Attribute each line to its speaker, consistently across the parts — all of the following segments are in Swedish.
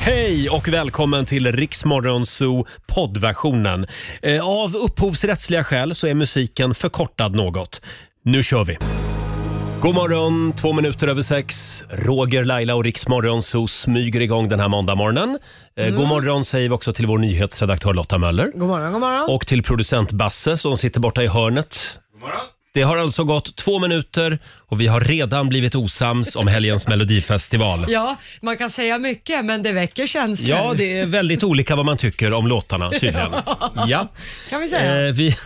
Speaker 1: Hej och välkommen till Riksmorgon Zoo poddversionen. Eh, Av upphovsrättsliga skäl så är musiken förkortad något. Nu kör vi! God morgon, två minuter över sex. Roger, Laila och Riksmorgon Zoo smyger igång den här måndagmorgonen. Eh, God morgon säger vi också till vår nyhetsredaktör Lotta Möller.
Speaker 2: Mm. God morgon, god morgon.
Speaker 1: Och till producent Basse som sitter borta i hörnet. Det har alltså gått två minuter och vi har redan blivit osams om helgens melodifestival.
Speaker 2: Ja, man kan säga mycket men det väcker känslor.
Speaker 1: Ja, det är väldigt olika vad man tycker om låtarna tydligen. Ja.
Speaker 2: Kan vi säga.
Speaker 1: Eh, vi,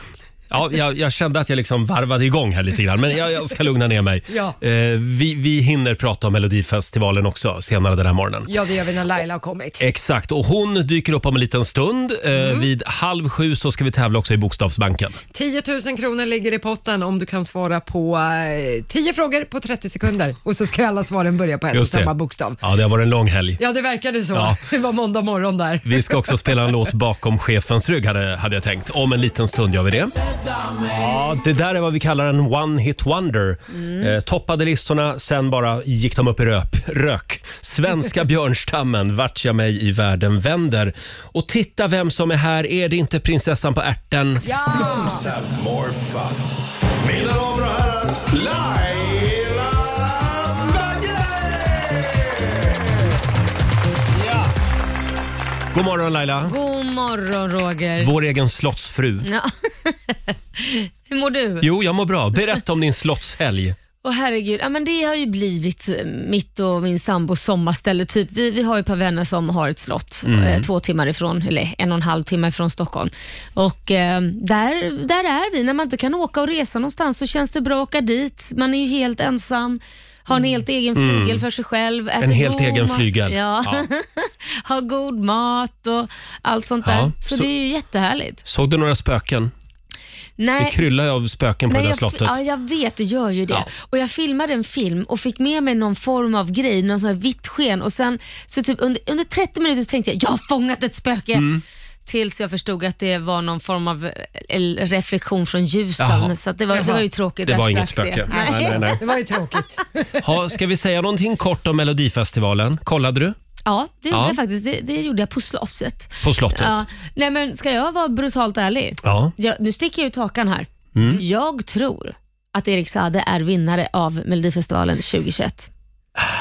Speaker 1: ja, jag, jag kände att jag liksom varvade igång här lite grann, men jag, jag ska lugna ner mig.
Speaker 2: Ja.
Speaker 1: Eh, vi, vi hinner prata om Melodifestivalen också senare den här morgonen.
Speaker 2: Ja, det gör vi när Laila har kommit.
Speaker 1: Exakt, och hon dyker upp om en liten stund. Eh,
Speaker 2: Mm.
Speaker 1: Vid halv sju så ska vi tävla också i Bokstavsbanken.
Speaker 2: 10 000 kronor ligger i potten om du kan svara på eh, 10 frågor på 30 sekunder och så ska alla svaren börja på en och
Speaker 1: Just det.
Speaker 2: samma bokstav.
Speaker 1: Ja, det har varit en lång helg.
Speaker 2: Ja, det verkade så.
Speaker 1: Ja.
Speaker 2: Det var måndag morgon där.
Speaker 1: Vi ska också spela en låt bakom chefens rygg hade, hade jag tänkt. Om en liten stund gör vi det. Ja, det där är vad vi kallar en one hit wonder.
Speaker 3: Mm.
Speaker 1: Eh, toppade listorna, sen bara gick de upp i röp, rök. Svenska björnstammen, Vart jag mig i världen vänder. Och titta vem som är här, är det inte prinsessan på ärten?
Speaker 2: Ja!
Speaker 4: Have more fun. Mina damer och herrar, Laila Bagge!
Speaker 1: God morgon Laila,
Speaker 3: God morgon Mm. Roger.
Speaker 1: vår egen slottsfru.
Speaker 3: ja. Hur mår du?
Speaker 1: Jo, jag mår bra. Berätta om din slottshelg.
Speaker 3: Åh herregud, ja, men det har ju blivit eh, mitt och min sambos sommarställe. Typ. Vi, vi har ju ett par vänner som har ett slott
Speaker 1: Mm.
Speaker 3: eh, två timmar ifrån, eller en och en halv timme ifrån Stockholm. Och eh, där, där är vi. När man inte kan åka och resa någonstans så känns det bra att åka dit. Man är ju helt ensam. Har en helt egen flygel för sig själv. äter
Speaker 1: Mm. En helt
Speaker 3: god
Speaker 1: egen
Speaker 3: mat-
Speaker 1: flygel.
Speaker 3: Ja.
Speaker 1: Ja.
Speaker 3: har god mat och allt sånt
Speaker 1: Ja,
Speaker 3: där. Så,
Speaker 1: så-
Speaker 3: det är ju jättehärligt.
Speaker 1: Såg du några spöken? Det
Speaker 3: Nej,
Speaker 1: kryllar ju av spöken på det där
Speaker 3: Eh, jag,
Speaker 1: slottet.
Speaker 3: Ja, jag vet, det gör ju det.
Speaker 1: Ja.
Speaker 3: Och Jag filmade en film och fick med mig någon form av grej, någon sån här vitt sken. Och sen, så typ under, under 30 minuter tänkte jag, jag har fångat ett spöke.
Speaker 1: Mm.
Speaker 3: Tills jag förstod att det var någon form av eh, el- reflektion från
Speaker 1: Jaha.
Speaker 3: ljusen. Så att det, var, det var ju tråkigt.
Speaker 1: Det
Speaker 3: där
Speaker 1: var inget
Speaker 3: sprack det.
Speaker 1: spöke.
Speaker 3: Nej.
Speaker 1: nej, nej.
Speaker 2: Det var ju tråkigt.
Speaker 1: Ha, ska vi säga någonting kort om Melodifestivalen? Kollade du?
Speaker 3: Ja, det gjorde
Speaker 1: Ja.
Speaker 3: jag faktiskt. Det, det gjorde jag på slottet.
Speaker 1: På slottet?
Speaker 3: Ja. Nej, men ska jag vara brutalt ärlig?
Speaker 1: Ja.
Speaker 3: Jag, nu sticker jag ut hakan här.
Speaker 1: Mm.
Speaker 3: Jag tror att Erik Saade är vinnare av Melodifestivalen 2021.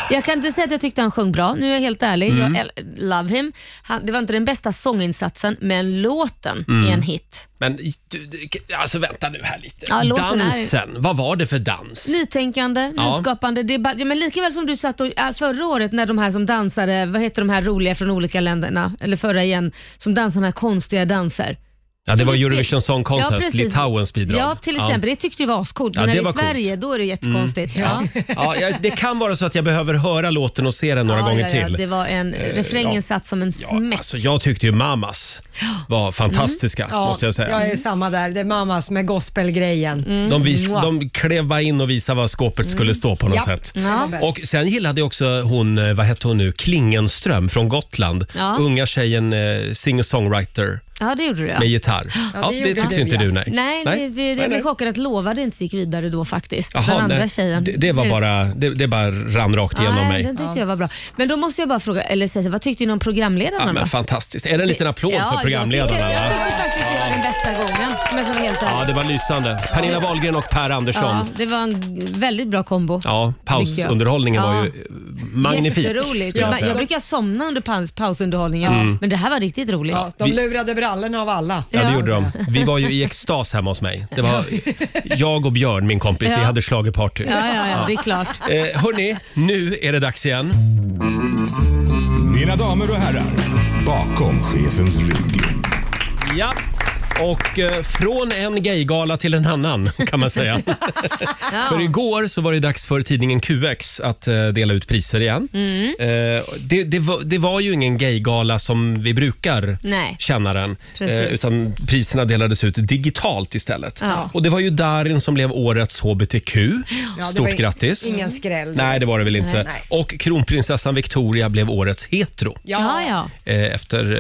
Speaker 3: Jag kan inte säga att jag tyckte han sjöng bra, nu är jag helt ärlig.
Speaker 1: Mm.
Speaker 3: Jag el- love him. Han, det var inte den bästa sånginsatsen, men låten
Speaker 1: Mm.
Speaker 3: är en hit.
Speaker 1: Men du, du- alltså vänta nu här lite.
Speaker 3: Ja, låten är-
Speaker 1: Dansen, vad var det för dans?
Speaker 3: Nytänkande,
Speaker 1: Ja.
Speaker 3: nyskapande. Det är bara, ja, men likaväl som du satt och, äh, förra året när de här som dansade, vad heter de här roliga från olika länderna, eller förra igen, som dansade de här konstiga danser.
Speaker 1: Ja, det
Speaker 3: Som
Speaker 1: var
Speaker 3: vi spel-
Speaker 1: Eurovision Song Contest,
Speaker 3: precis.
Speaker 1: Litauens bidrag.
Speaker 3: Ja, till exempel. Det tyckte jag var ascoolt,
Speaker 1: Ja,
Speaker 3: men
Speaker 1: det
Speaker 3: när det
Speaker 1: var
Speaker 3: är
Speaker 1: coolt. Mm.
Speaker 3: Sverige då är det jättekonstigt. Ja.
Speaker 1: Ja. Ja, det kan vara så att jag behöver höra låten och se den några
Speaker 3: ja,
Speaker 1: gånger
Speaker 3: ja, ja.
Speaker 1: till. Eh,
Speaker 3: Det var en, refrängen
Speaker 1: ja.
Speaker 3: satt som en
Speaker 1: Ja,
Speaker 3: smäck. Mm.
Speaker 1: alltså, jag tyckte ju Mamas var fantastiska, måste jag säga.
Speaker 2: jag är samma där. Det är mammas med gospelgrejen.
Speaker 3: Mm.
Speaker 1: De, vis, de klev bara in och visade vad skåpet skulle stå på något
Speaker 2: Ja.
Speaker 1: sätt.
Speaker 2: Ja. bäst.
Speaker 1: Och sen gillade jag också hon, eh, vad hette hon nu, Klingenström från Gotland.
Speaker 3: Ja.
Speaker 1: Unga tjejen, eh, singer-songwriter
Speaker 3: ja, det gjorde du ja.
Speaker 1: med gitarr. Ja,
Speaker 2: det
Speaker 1: det,
Speaker 2: gjorde
Speaker 1: tyckte
Speaker 2: du,
Speaker 1: inte
Speaker 2: ja.
Speaker 1: du, nej.
Speaker 3: Nej, det, det, det, jag
Speaker 1: nej.
Speaker 3: blev chockad att Lovade inte gick vidare då faktiskt.
Speaker 1: Jaha,
Speaker 3: den andra
Speaker 1: nej.
Speaker 3: tjejen.
Speaker 1: Det, det, var bara, det, det bara rann rakt igenom
Speaker 3: Nej,
Speaker 1: mig.
Speaker 3: den tyckte jag var bra. Men då måste jag bara fråga, eller säga, så här, vad tyckte ni om programledarna
Speaker 1: Ja,
Speaker 3: då?
Speaker 1: men fantastiskt. Är det en liten applåd för programledarna?
Speaker 3: Jag tyckte,
Speaker 1: va?
Speaker 3: jag tyckte faktiskt det var den bästa gången, om jag ska vara helt
Speaker 1: Ja,
Speaker 3: ärlig.
Speaker 1: det var lysande. Pernilla Wahlgren och Per
Speaker 3: Ja,
Speaker 1: Andersson.
Speaker 3: det var en väldigt bra kombo.
Speaker 1: Ja,
Speaker 3: Tycker jag.
Speaker 1: pausunderhållningen var ju
Speaker 3: Ja.
Speaker 1: eh, magnifik.
Speaker 3: Jätteroligt.
Speaker 1: skulle jag
Speaker 3: Jag,
Speaker 1: säga. Mm.
Speaker 3: jag brukar somna under paus, pausunderhållningen, men det här var riktigt roligt.
Speaker 2: Ja, de
Speaker 1: Vi-
Speaker 2: lurade brallorna av alla.
Speaker 1: Ja, det
Speaker 3: Ja.
Speaker 1: gjorde de. Vi var ju i extas hemma hos mig. Det var jag och Björn, min kompis, vi
Speaker 3: Ja.
Speaker 1: hade schlagerparty.
Speaker 3: Ja, ja, ja, det är klart.
Speaker 1: Eh, hörni, nu är det dags igen.
Speaker 4: Mina damer och herrar, bakom chefens rygg.
Speaker 1: Ja. Och eh, från en gaygala till en annan kan man säga. För igår så var det dags för tidningen QX att eh, dela ut priser igen.
Speaker 2: Mm.
Speaker 1: Eh, det, det, var, det var ju ingen gaygala som vi brukar
Speaker 3: Nej.
Speaker 1: känna den. Eh,
Speaker 3: Precis.
Speaker 1: utan priserna delades ut digitalt istället.
Speaker 3: Ja.
Speaker 1: Och det var ju Darin som blev årets HBTQ.
Speaker 2: Ja, det var
Speaker 1: Stort
Speaker 2: in-
Speaker 1: grattis.
Speaker 2: Ingen skräll.
Speaker 1: Nej, det var det väl inte.
Speaker 2: Nej.
Speaker 1: Och kronprinsessan Victoria blev årets hetero
Speaker 3: Ja, ja.
Speaker 1: eh, efter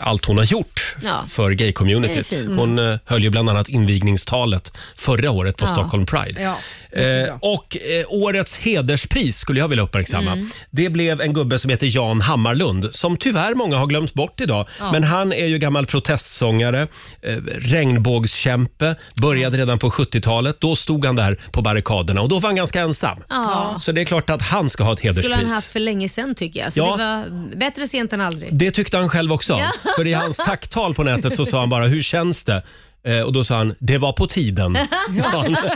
Speaker 1: eh, allt hon har gjort
Speaker 3: Ja.
Speaker 1: för gay-communityt. otroligt.
Speaker 3: fint.
Speaker 1: Hon eh, höll ju bland annat invigningstalet förra året på
Speaker 3: Ja.
Speaker 1: Stockholm Pride.
Speaker 2: Ja,
Speaker 1: Eh, och eh, årets hederspris skulle jag vilja uppmärksamma.
Speaker 3: Mm.
Speaker 1: Det blev en gubbe som heter Jan Hammarlund som tyvärr många har glömt bort idag. Men han är ju gammal protestsångare, eh, regnbågskämpe, började redan på 70-talet. Då stod han där på barrikaderna och då var han ganska ensam.
Speaker 3: Ja.
Speaker 1: Så det är klart att han ska ha ett hederspris.
Speaker 3: skulle han haft för länge sedan tycker jag. Så
Speaker 1: Ja.
Speaker 3: det var bättre sent än aldrig.
Speaker 1: Det tyckte han själv också. För i hans tacktal på nätet så sa han bara “Hur känns det?” Eh, och då sa han “Det var på tiden”. Sa han.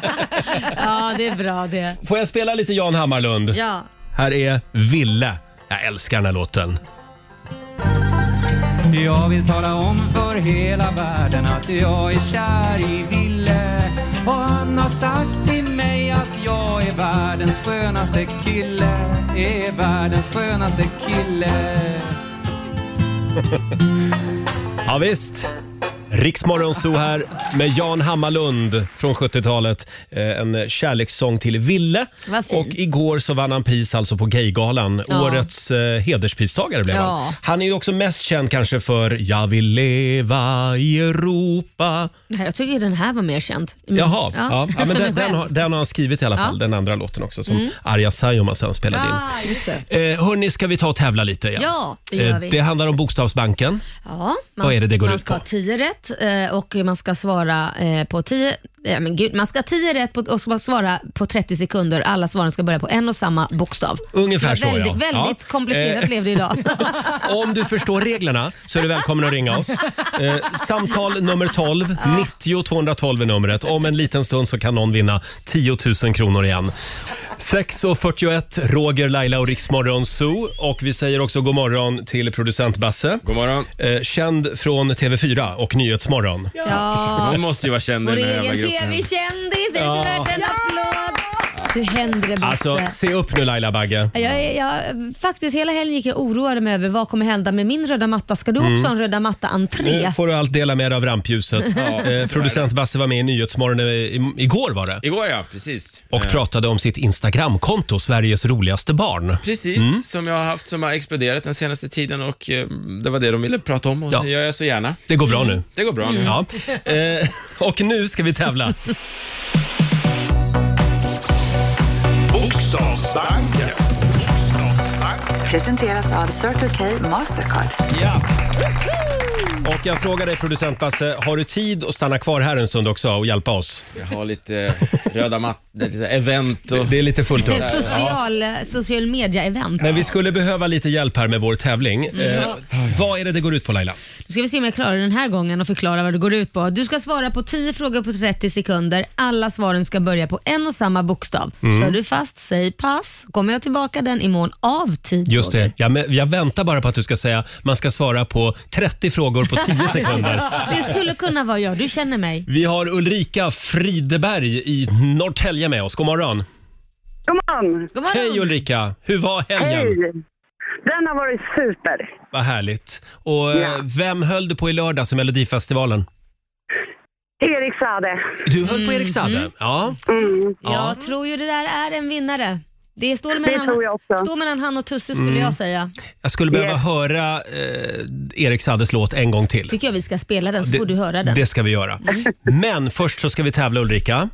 Speaker 3: Ja, det är bra det.
Speaker 1: Får jag spela lite Jan Hammarlund?
Speaker 3: Ja.
Speaker 1: Här är Ville. Jag älskar den här låten.
Speaker 5: Jag vill tala om för hela världen att jag är kär i Ville Och han har sagt till mig att jag är världens skönaste kille Är världens skönaste kille
Speaker 1: Ja, visst. Riksmorgon så här med Jan Hammarlund från 70-talet. Eh, En kärlekssång till Ville.
Speaker 3: Vad fint.
Speaker 1: Och igår så vann han pris alltså på Gaygalan.
Speaker 3: Ja.
Speaker 1: Årets eh, hederspristagare blev han.
Speaker 3: Ja.
Speaker 1: Han är ju också mest känd kanske för “Jag vill leva i Europa”.
Speaker 3: Nej, Jag tycker den här var mer känd. Mm.
Speaker 1: Jaha, ja. Ja.
Speaker 3: För
Speaker 1: men
Speaker 3: mig
Speaker 1: den, den,
Speaker 3: själv. Mm.
Speaker 1: har, den har han skrivit i alla fall. Den andra låten också som Arja Saijonmaa sen spelade in.
Speaker 3: Ah, just det.
Speaker 1: Eh, hörni, ska vi ta och tävla lite igen? Eh,
Speaker 3: Ja, det gör vi.
Speaker 1: det handlar om Bokstavsbanken.
Speaker 3: Ja, man,
Speaker 1: Vad är det det går
Speaker 3: man
Speaker 1: ut
Speaker 3: ska
Speaker 1: på?
Speaker 3: ha 10 rätt eh, och man ska svara eh, på 10 eh, men gud, man ska ha 10 rätt på, och ska man svara på 30 sekunder. Alla svaren ska börja på en och samma bokstav.
Speaker 1: Ungefär
Speaker 3: det var
Speaker 1: så, ja.
Speaker 3: väldigt, Väldigt
Speaker 1: Ja.
Speaker 3: komplicerat
Speaker 1: Eh.
Speaker 3: blev det idag.
Speaker 1: Om du förstår reglerna så är du välkommen att ringa oss. Eh, samtal nummer 12, 90 212 är numret. Om en liten stund så kan någon vinna 10 000 kronor igen. 6.41, Roger, Laila och Riksmorgon Zoo. Och vi säger också god morgon till producent Basse.
Speaker 6: God morgon.
Speaker 1: Eh, känd från TV4 och Nyhetsmorgon.
Speaker 3: ja.
Speaker 6: Hon måste ju vara känd i
Speaker 3: Vår
Speaker 6: den här jävla
Speaker 3: egen
Speaker 6: gruppen.
Speaker 3: TV-kändis är det värt en applåd. Hur hände det
Speaker 1: Alltså,
Speaker 3: Basse?
Speaker 1: se upp nu Laila Bagge.
Speaker 3: Jag, är- jag, faktiskt hela helgen gick jag och oroade mig över vad kommer hända med min röda matta. Ska du också ha en röda matta-entré?
Speaker 1: Mm. Nu får du allt dela med dig av rampljuset.
Speaker 6: Ja, så är
Speaker 1: eh,
Speaker 6: det.
Speaker 1: producent Basse var med i Nyhetsmorgon eh, i- igår var det.
Speaker 6: Igår ja, precis.
Speaker 1: Och
Speaker 6: Eh,
Speaker 1: pratade om sitt Instagramkonto, Sveriges roligaste barn.
Speaker 6: Precis,
Speaker 1: Mm.
Speaker 6: som jag har haft som har exploderat den senaste tiden och eh, det var det de ville prata om och
Speaker 1: Ja.
Speaker 6: det gör jag så gärna.
Speaker 1: Det går bra nu.
Speaker 6: Det går bra
Speaker 3: Mm.
Speaker 6: nu.
Speaker 1: Ja.
Speaker 6: Mm.
Speaker 1: Eh, och nu ska vi tävla.
Speaker 4: Bokstavsbanken.
Speaker 7: Presenteras av Circle K Mastercard.
Speaker 1: Ja. Och jag frågar dig producent Basse, har du tid att stanna kvar här en stund också och hjälpa oss?
Speaker 6: Jag har lite röda mattor, lite event och...
Speaker 1: Det är lite fullt upp.
Speaker 3: En social, social media-event.
Speaker 1: Men vi skulle behöva lite hjälp här med vår tävling.
Speaker 6: Mm.
Speaker 1: Eh, vad är det det går ut på Laila?
Speaker 3: Nu ska vi se om jag klarar den här gången och förklara vad det går ut på. Du ska svara på 10 frågor på 30 sekunder. Alla svaren ska börja på en och samma bokstav.
Speaker 1: Mm.
Speaker 3: Kör du fast, säg pass. Kommer jag tillbaka den i mån av tid.
Speaker 1: Just
Speaker 3: Roger.
Speaker 1: det. Jag, men- jag väntar bara på att du ska säga man ska svara på 30 frågor på 10 sekunder.
Speaker 3: Det skulle kunna vara jag. Du känner mig.
Speaker 1: Vi har Ulrika Frideberg i Norrtälje med oss. God morgon.
Speaker 8: God morgon!
Speaker 3: God morgon.
Speaker 1: Hej Ulrika! Hur var helgen?
Speaker 8: Hej! Den har varit super.
Speaker 1: Vad härligt. Och eh,
Speaker 8: Ja.
Speaker 1: vem höll du på i lördags i Melodifestivalen?
Speaker 8: Erik Saade.
Speaker 1: Du höll på Erik Saade?
Speaker 3: Mm.
Speaker 1: Ja. Ja.
Speaker 3: Jag tror ju det där är en vinnare. Det står mellan,
Speaker 8: tror jag också.
Speaker 3: står mellan han och Tusse skulle
Speaker 1: Mm.
Speaker 3: jag säga.
Speaker 1: Jag skulle behöva
Speaker 8: Yes.
Speaker 1: höra eh, Erik Saades låt en gång till.
Speaker 3: Tycker jag vi ska spela den så får du höra den. Mm.
Speaker 1: Det ska vi göra. Men först så ska vi tävla Ulrika.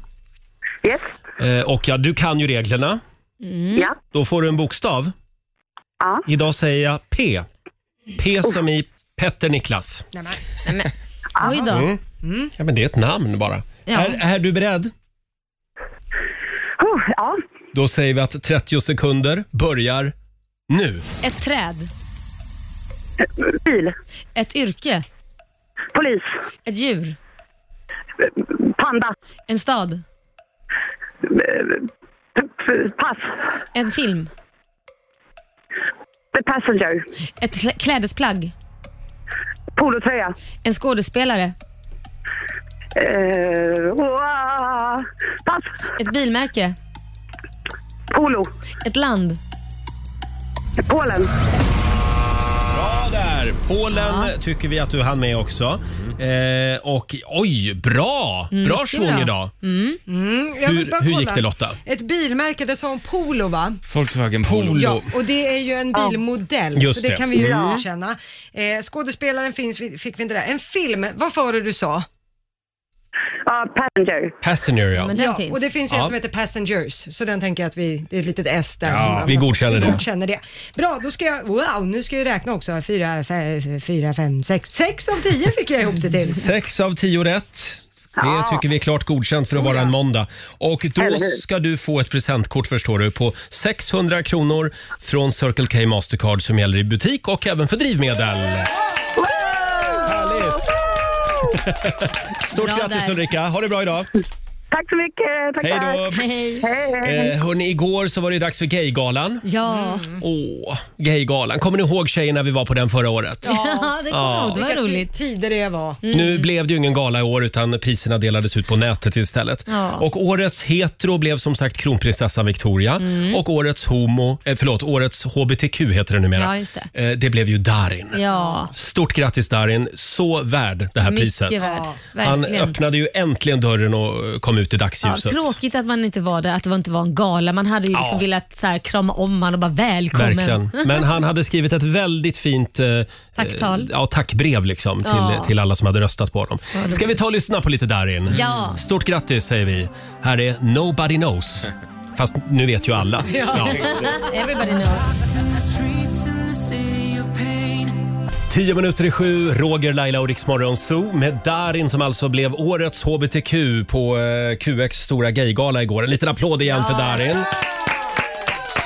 Speaker 8: Yes.
Speaker 1: Eh, och ja, du kan ju reglerna. Mm.
Speaker 8: Ja.
Speaker 1: Då får du en bokstav.
Speaker 8: Ja.
Speaker 1: Idag säger jag P. P som i Petter Niklas.
Speaker 3: Oj då.
Speaker 1: Mm. Ja, men det är ett namn bara.
Speaker 3: Ja.
Speaker 1: Är, är du beredd?
Speaker 8: Oh, ja.
Speaker 1: Då säger vi att 30 sekunder börjar nu.
Speaker 3: Ett träd.
Speaker 8: Bil.
Speaker 3: Ett yrke.
Speaker 8: Polis.
Speaker 3: Ett djur.
Speaker 8: Panda.
Speaker 3: En stad.
Speaker 8: P- p- Pass.
Speaker 3: En film.
Speaker 8: The Passenger.
Speaker 3: Ett klä- klädesplagg.
Speaker 8: Polotröja.
Speaker 3: En skådespelare.
Speaker 8: Eh, wow. Pass.
Speaker 3: Ett bilmärke.
Speaker 8: Polo.
Speaker 3: Ett land.
Speaker 8: Polen.
Speaker 1: Bra där! där. Polen tycker vi att du hann med också. Eh, och oj, bra! bra
Speaker 3: mycket
Speaker 1: schvung
Speaker 3: bra.
Speaker 1: idag.
Speaker 2: Mm, jag vill
Speaker 1: Hur-
Speaker 2: bara
Speaker 1: hur
Speaker 2: kolla.
Speaker 1: gick det, Lotta?
Speaker 2: Ett bilmärke, det sa hon Polo va?
Speaker 6: Volkswagen Polo.
Speaker 1: Polo.
Speaker 2: Ja, och det är ju en bilmodell
Speaker 1: Just
Speaker 2: så det,
Speaker 1: det.
Speaker 2: kan vi ju
Speaker 3: Mm.
Speaker 2: erkänna. Eh, skådespelaren finns, vi- fick vi inte där. En film, vad sa du du sa?
Speaker 8: Ja, passenger.
Speaker 1: Passenger ja.
Speaker 3: Men den finns.
Speaker 2: och det finns ju
Speaker 1: Ja.
Speaker 2: en som heter Passengers, så den tänker jag att vi, det är ett litet S där.
Speaker 1: Ja,
Speaker 2: som-
Speaker 1: vi godkänner det.
Speaker 2: Vi godkänner det. Bra, då ska jag, wow, nu ska jag räkna också. Fyra, fe- fyra, fem, sex. Sex av tio fick jag ihop det till.
Speaker 1: Sex av tio rätt. Det tycker vi är klart godkänt för att vara en måndag. Och då
Speaker 8: Eller hur?
Speaker 1: ska du få ett presentkort förstår du på 600 kronor från Circle K Mastercard som gäller i butik och även för drivmedel. Härligt! Stort
Speaker 3: Bra
Speaker 1: grattis
Speaker 3: där.
Speaker 1: Ulrika, ha det bra idag.
Speaker 8: Tack så mycket. Tack,
Speaker 1: Hej då!
Speaker 8: tack.
Speaker 3: Hej.
Speaker 8: Hej, hej.
Speaker 1: Eh, hörni, igår så var det ju dags för Gaygalan.
Speaker 3: Ja,
Speaker 1: Åh, Gaygalan. Kommer ni ihåg tjejerna vi var på den förra året?
Speaker 3: ja det kommer jag ihåg. Det var
Speaker 2: Vilka ti-
Speaker 3: roligt.
Speaker 2: tider det var.
Speaker 3: Mm.
Speaker 1: Nu blev det ju ingen gala i år utan priserna delades ut på nätet istället.
Speaker 3: Ja.
Speaker 1: Och årets hetero blev som sagt kronprinsessan Victoria
Speaker 3: Mm.
Speaker 1: och årets homo, eh, förlåt, årets hbtq heter det numera.
Speaker 3: Ja, just
Speaker 1: det. Eh, det blev ju Darin.
Speaker 3: Ja,
Speaker 1: Stort grattis Darin, så värd det här priset.
Speaker 3: mycket värd.
Speaker 1: Han
Speaker 3: Verkligen.
Speaker 1: öppnade ju äntligen dörren och eh, kom ut i
Speaker 3: Ja,
Speaker 1: dagsljuset.
Speaker 3: tråkigt att man inte var där, att det inte var en gala. Man hade ju liksom
Speaker 1: Ja.
Speaker 3: velat så här, krama om man och bara välkommen.
Speaker 1: Verkligen. Men han hade skrivit ett väldigt fint eh,
Speaker 3: Tacktal.
Speaker 1: eh, Ja, tackbrev liksom till,
Speaker 3: Ja.
Speaker 1: till alla som hade röstat på honom.
Speaker 3: roligt.
Speaker 1: Ska vi ta och lyssna på lite Darin?
Speaker 3: Ja.
Speaker 1: Stort grattis säger vi. Här är Nobody Knows. Fast nu vet ju alla. Ja.
Speaker 3: Everybody knows.
Speaker 1: Tio minuter i sju, Roger, Laila och Riksmorgon Zoo med Darin som alltså blev årets HBTQ på eh, QX stora gaygala igår. En liten applåd igen för Darin.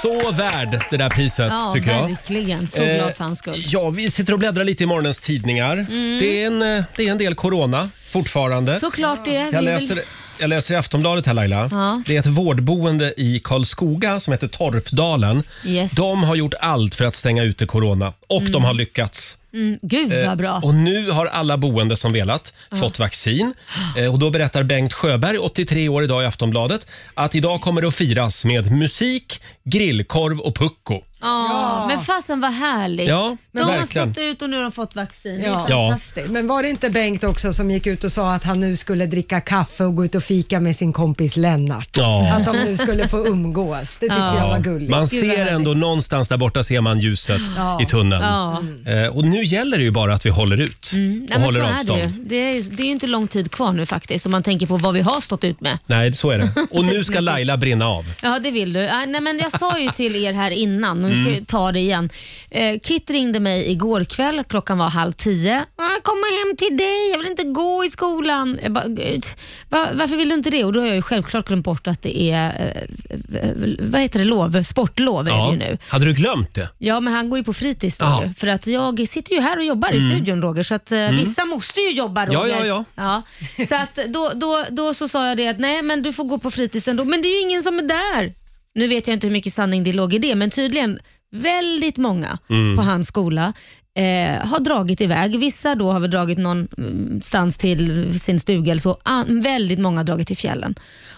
Speaker 1: Så värd det där priset
Speaker 3: Ja,
Speaker 1: tycker jag.
Speaker 3: verkligen. Så
Speaker 1: Eh,
Speaker 3: glad för hans skull.
Speaker 1: Ja, vi sitter och bläddrar lite i morgonens tidningar.
Speaker 3: Mm.
Speaker 1: Det, är en, eh, det är en del corona fortfarande.
Speaker 3: Såklart det. Vi är
Speaker 1: jag,
Speaker 3: väl-
Speaker 1: läser, jag läser i Aftonbladet här Laila.
Speaker 3: Ja.
Speaker 1: Det är ett vårdboende i Karlskoga som heter Torpdalen.
Speaker 3: Yes.
Speaker 1: De har gjort allt för att stänga ute corona och de har lyckats.
Speaker 3: Mm, Gud vad bra.
Speaker 1: Eh, Och nu har alla boende som velat fått vaccin. Eh, Och då berättar Bengt Sjöberg, 83 år idag i Aftonbladet, att idag kommer det att firas med musik, grillkorv och pucko.
Speaker 3: Ja. Men fasen vad härligt.
Speaker 1: Ja,
Speaker 3: de
Speaker 1: verkligen.
Speaker 3: har stått ut och nu har de fått vaccin.
Speaker 2: Ja.
Speaker 3: Det är
Speaker 1: Ja.
Speaker 3: fantastiskt.
Speaker 2: Men var det inte Bengt också som gick ut och sa att han nu skulle dricka kaffe och gå ut och fika med sin kompis Lennart?
Speaker 1: Ja.
Speaker 2: Att de nu skulle få umgås. Det tyckte
Speaker 3: Ja.
Speaker 2: jag var
Speaker 1: Ja,
Speaker 2: gulligt.
Speaker 1: Man
Speaker 3: Gud, vad
Speaker 1: ser
Speaker 3: härligt.
Speaker 1: ändå någonstans där borta ser man ljuset i tunneln.
Speaker 3: Ja.
Speaker 1: Eh, och nu gäller det ju bara att vi håller ut och
Speaker 3: Nej, men så
Speaker 1: håller
Speaker 3: är det, ju.
Speaker 1: avstånd.
Speaker 3: Det, är ju, det är ju inte lång tid kvar nu faktiskt om man tänker på vad vi har stått ut med.
Speaker 1: Nej, så är det. Och nu ska Laila brinna av.
Speaker 3: Ja, det vill du. Äh, Nej, men jag sa ju till er här innan, men nu
Speaker 1: Mm.
Speaker 3: ska jag ta det igen. Eh, Kit ringde mig igår kväll, klockan var halv tio. Jag kommer hem till dig, jag vill inte gå i skolan. Jag bara, "Gud, va, varför vill du inte det? Och då har jag ju självklart glömt bort att det är, eh, vad heter det, lov? Sportlov är det ju nu.
Speaker 1: Hade du glömt det?
Speaker 3: Ja, men han går ju på fritids då
Speaker 1: Ja.
Speaker 3: ju, För att jag sitter ju här och jobbar i studion Roger, så att eh, vissa måste ju jobba Roger.
Speaker 1: Ja, ja, ja.
Speaker 3: Ja, Så att då, då, då så sa jag det att nej, men du får gå på fritids ändå. Men det är ju ingen som är där. Nu vet jag inte hur mycket sanning det låg i det, men tydligen väldigt många
Speaker 1: Mm.
Speaker 3: på hans skola eh, har dragit iväg. Vissa då har väl dragit någonstans till sin stuga eller så. An- väldigt många har dragit till fjällen.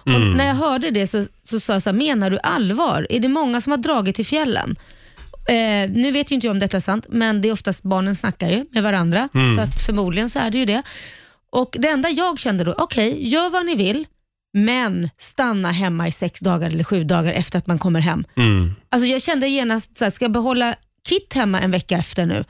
Speaker 1: Mm.
Speaker 3: Och när jag hörde det så, så sa jag så här, menar du allvar? Är det många som har dragit till fjällen? Eh, nu vet ju inte jag om detta är sant, men det är oftast barnen snackar ju med varandra,
Speaker 1: Mm.
Speaker 3: så att förmodligen så är det ju det. Och Det enda jag kände då, okej, gör vad ni vill, men stanna hemma i sex dagar eller sju dagar efter att man kommer hem.
Speaker 1: Mm.
Speaker 3: Alltså Jag kände genast, så här, ska jag behålla Kit hemma en vecka efter nu?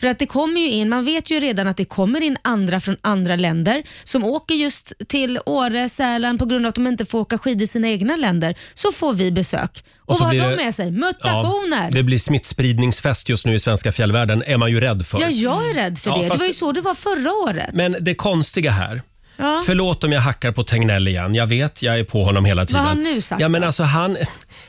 Speaker 3: För att det kommer ju in, man vet ju redan att det kommer in andra från andra länder som åker just till Åre, Sälen på grund av att de inte får åka skidor i sina egna länder. Så får vi besök. Och,
Speaker 1: så
Speaker 3: vad har
Speaker 1: blir
Speaker 3: de
Speaker 1: det-
Speaker 3: med sig? Mutationer!
Speaker 1: det blir smittspridningsfest just nu i svenska fjällvärlden, är man ju rädd för.
Speaker 3: Ja, jag är rädd för
Speaker 1: Mm. Ja,
Speaker 3: det. Det
Speaker 1: fast-
Speaker 3: var ju så det var förra året.
Speaker 1: Men det konstiga här,
Speaker 3: Ja.
Speaker 1: förlåt om jag hackar på Tegnell igen, jag vet jag är på honom hela tiden.
Speaker 3: har han nu sagt
Speaker 1: Ja, men
Speaker 3: då?
Speaker 1: alltså, han,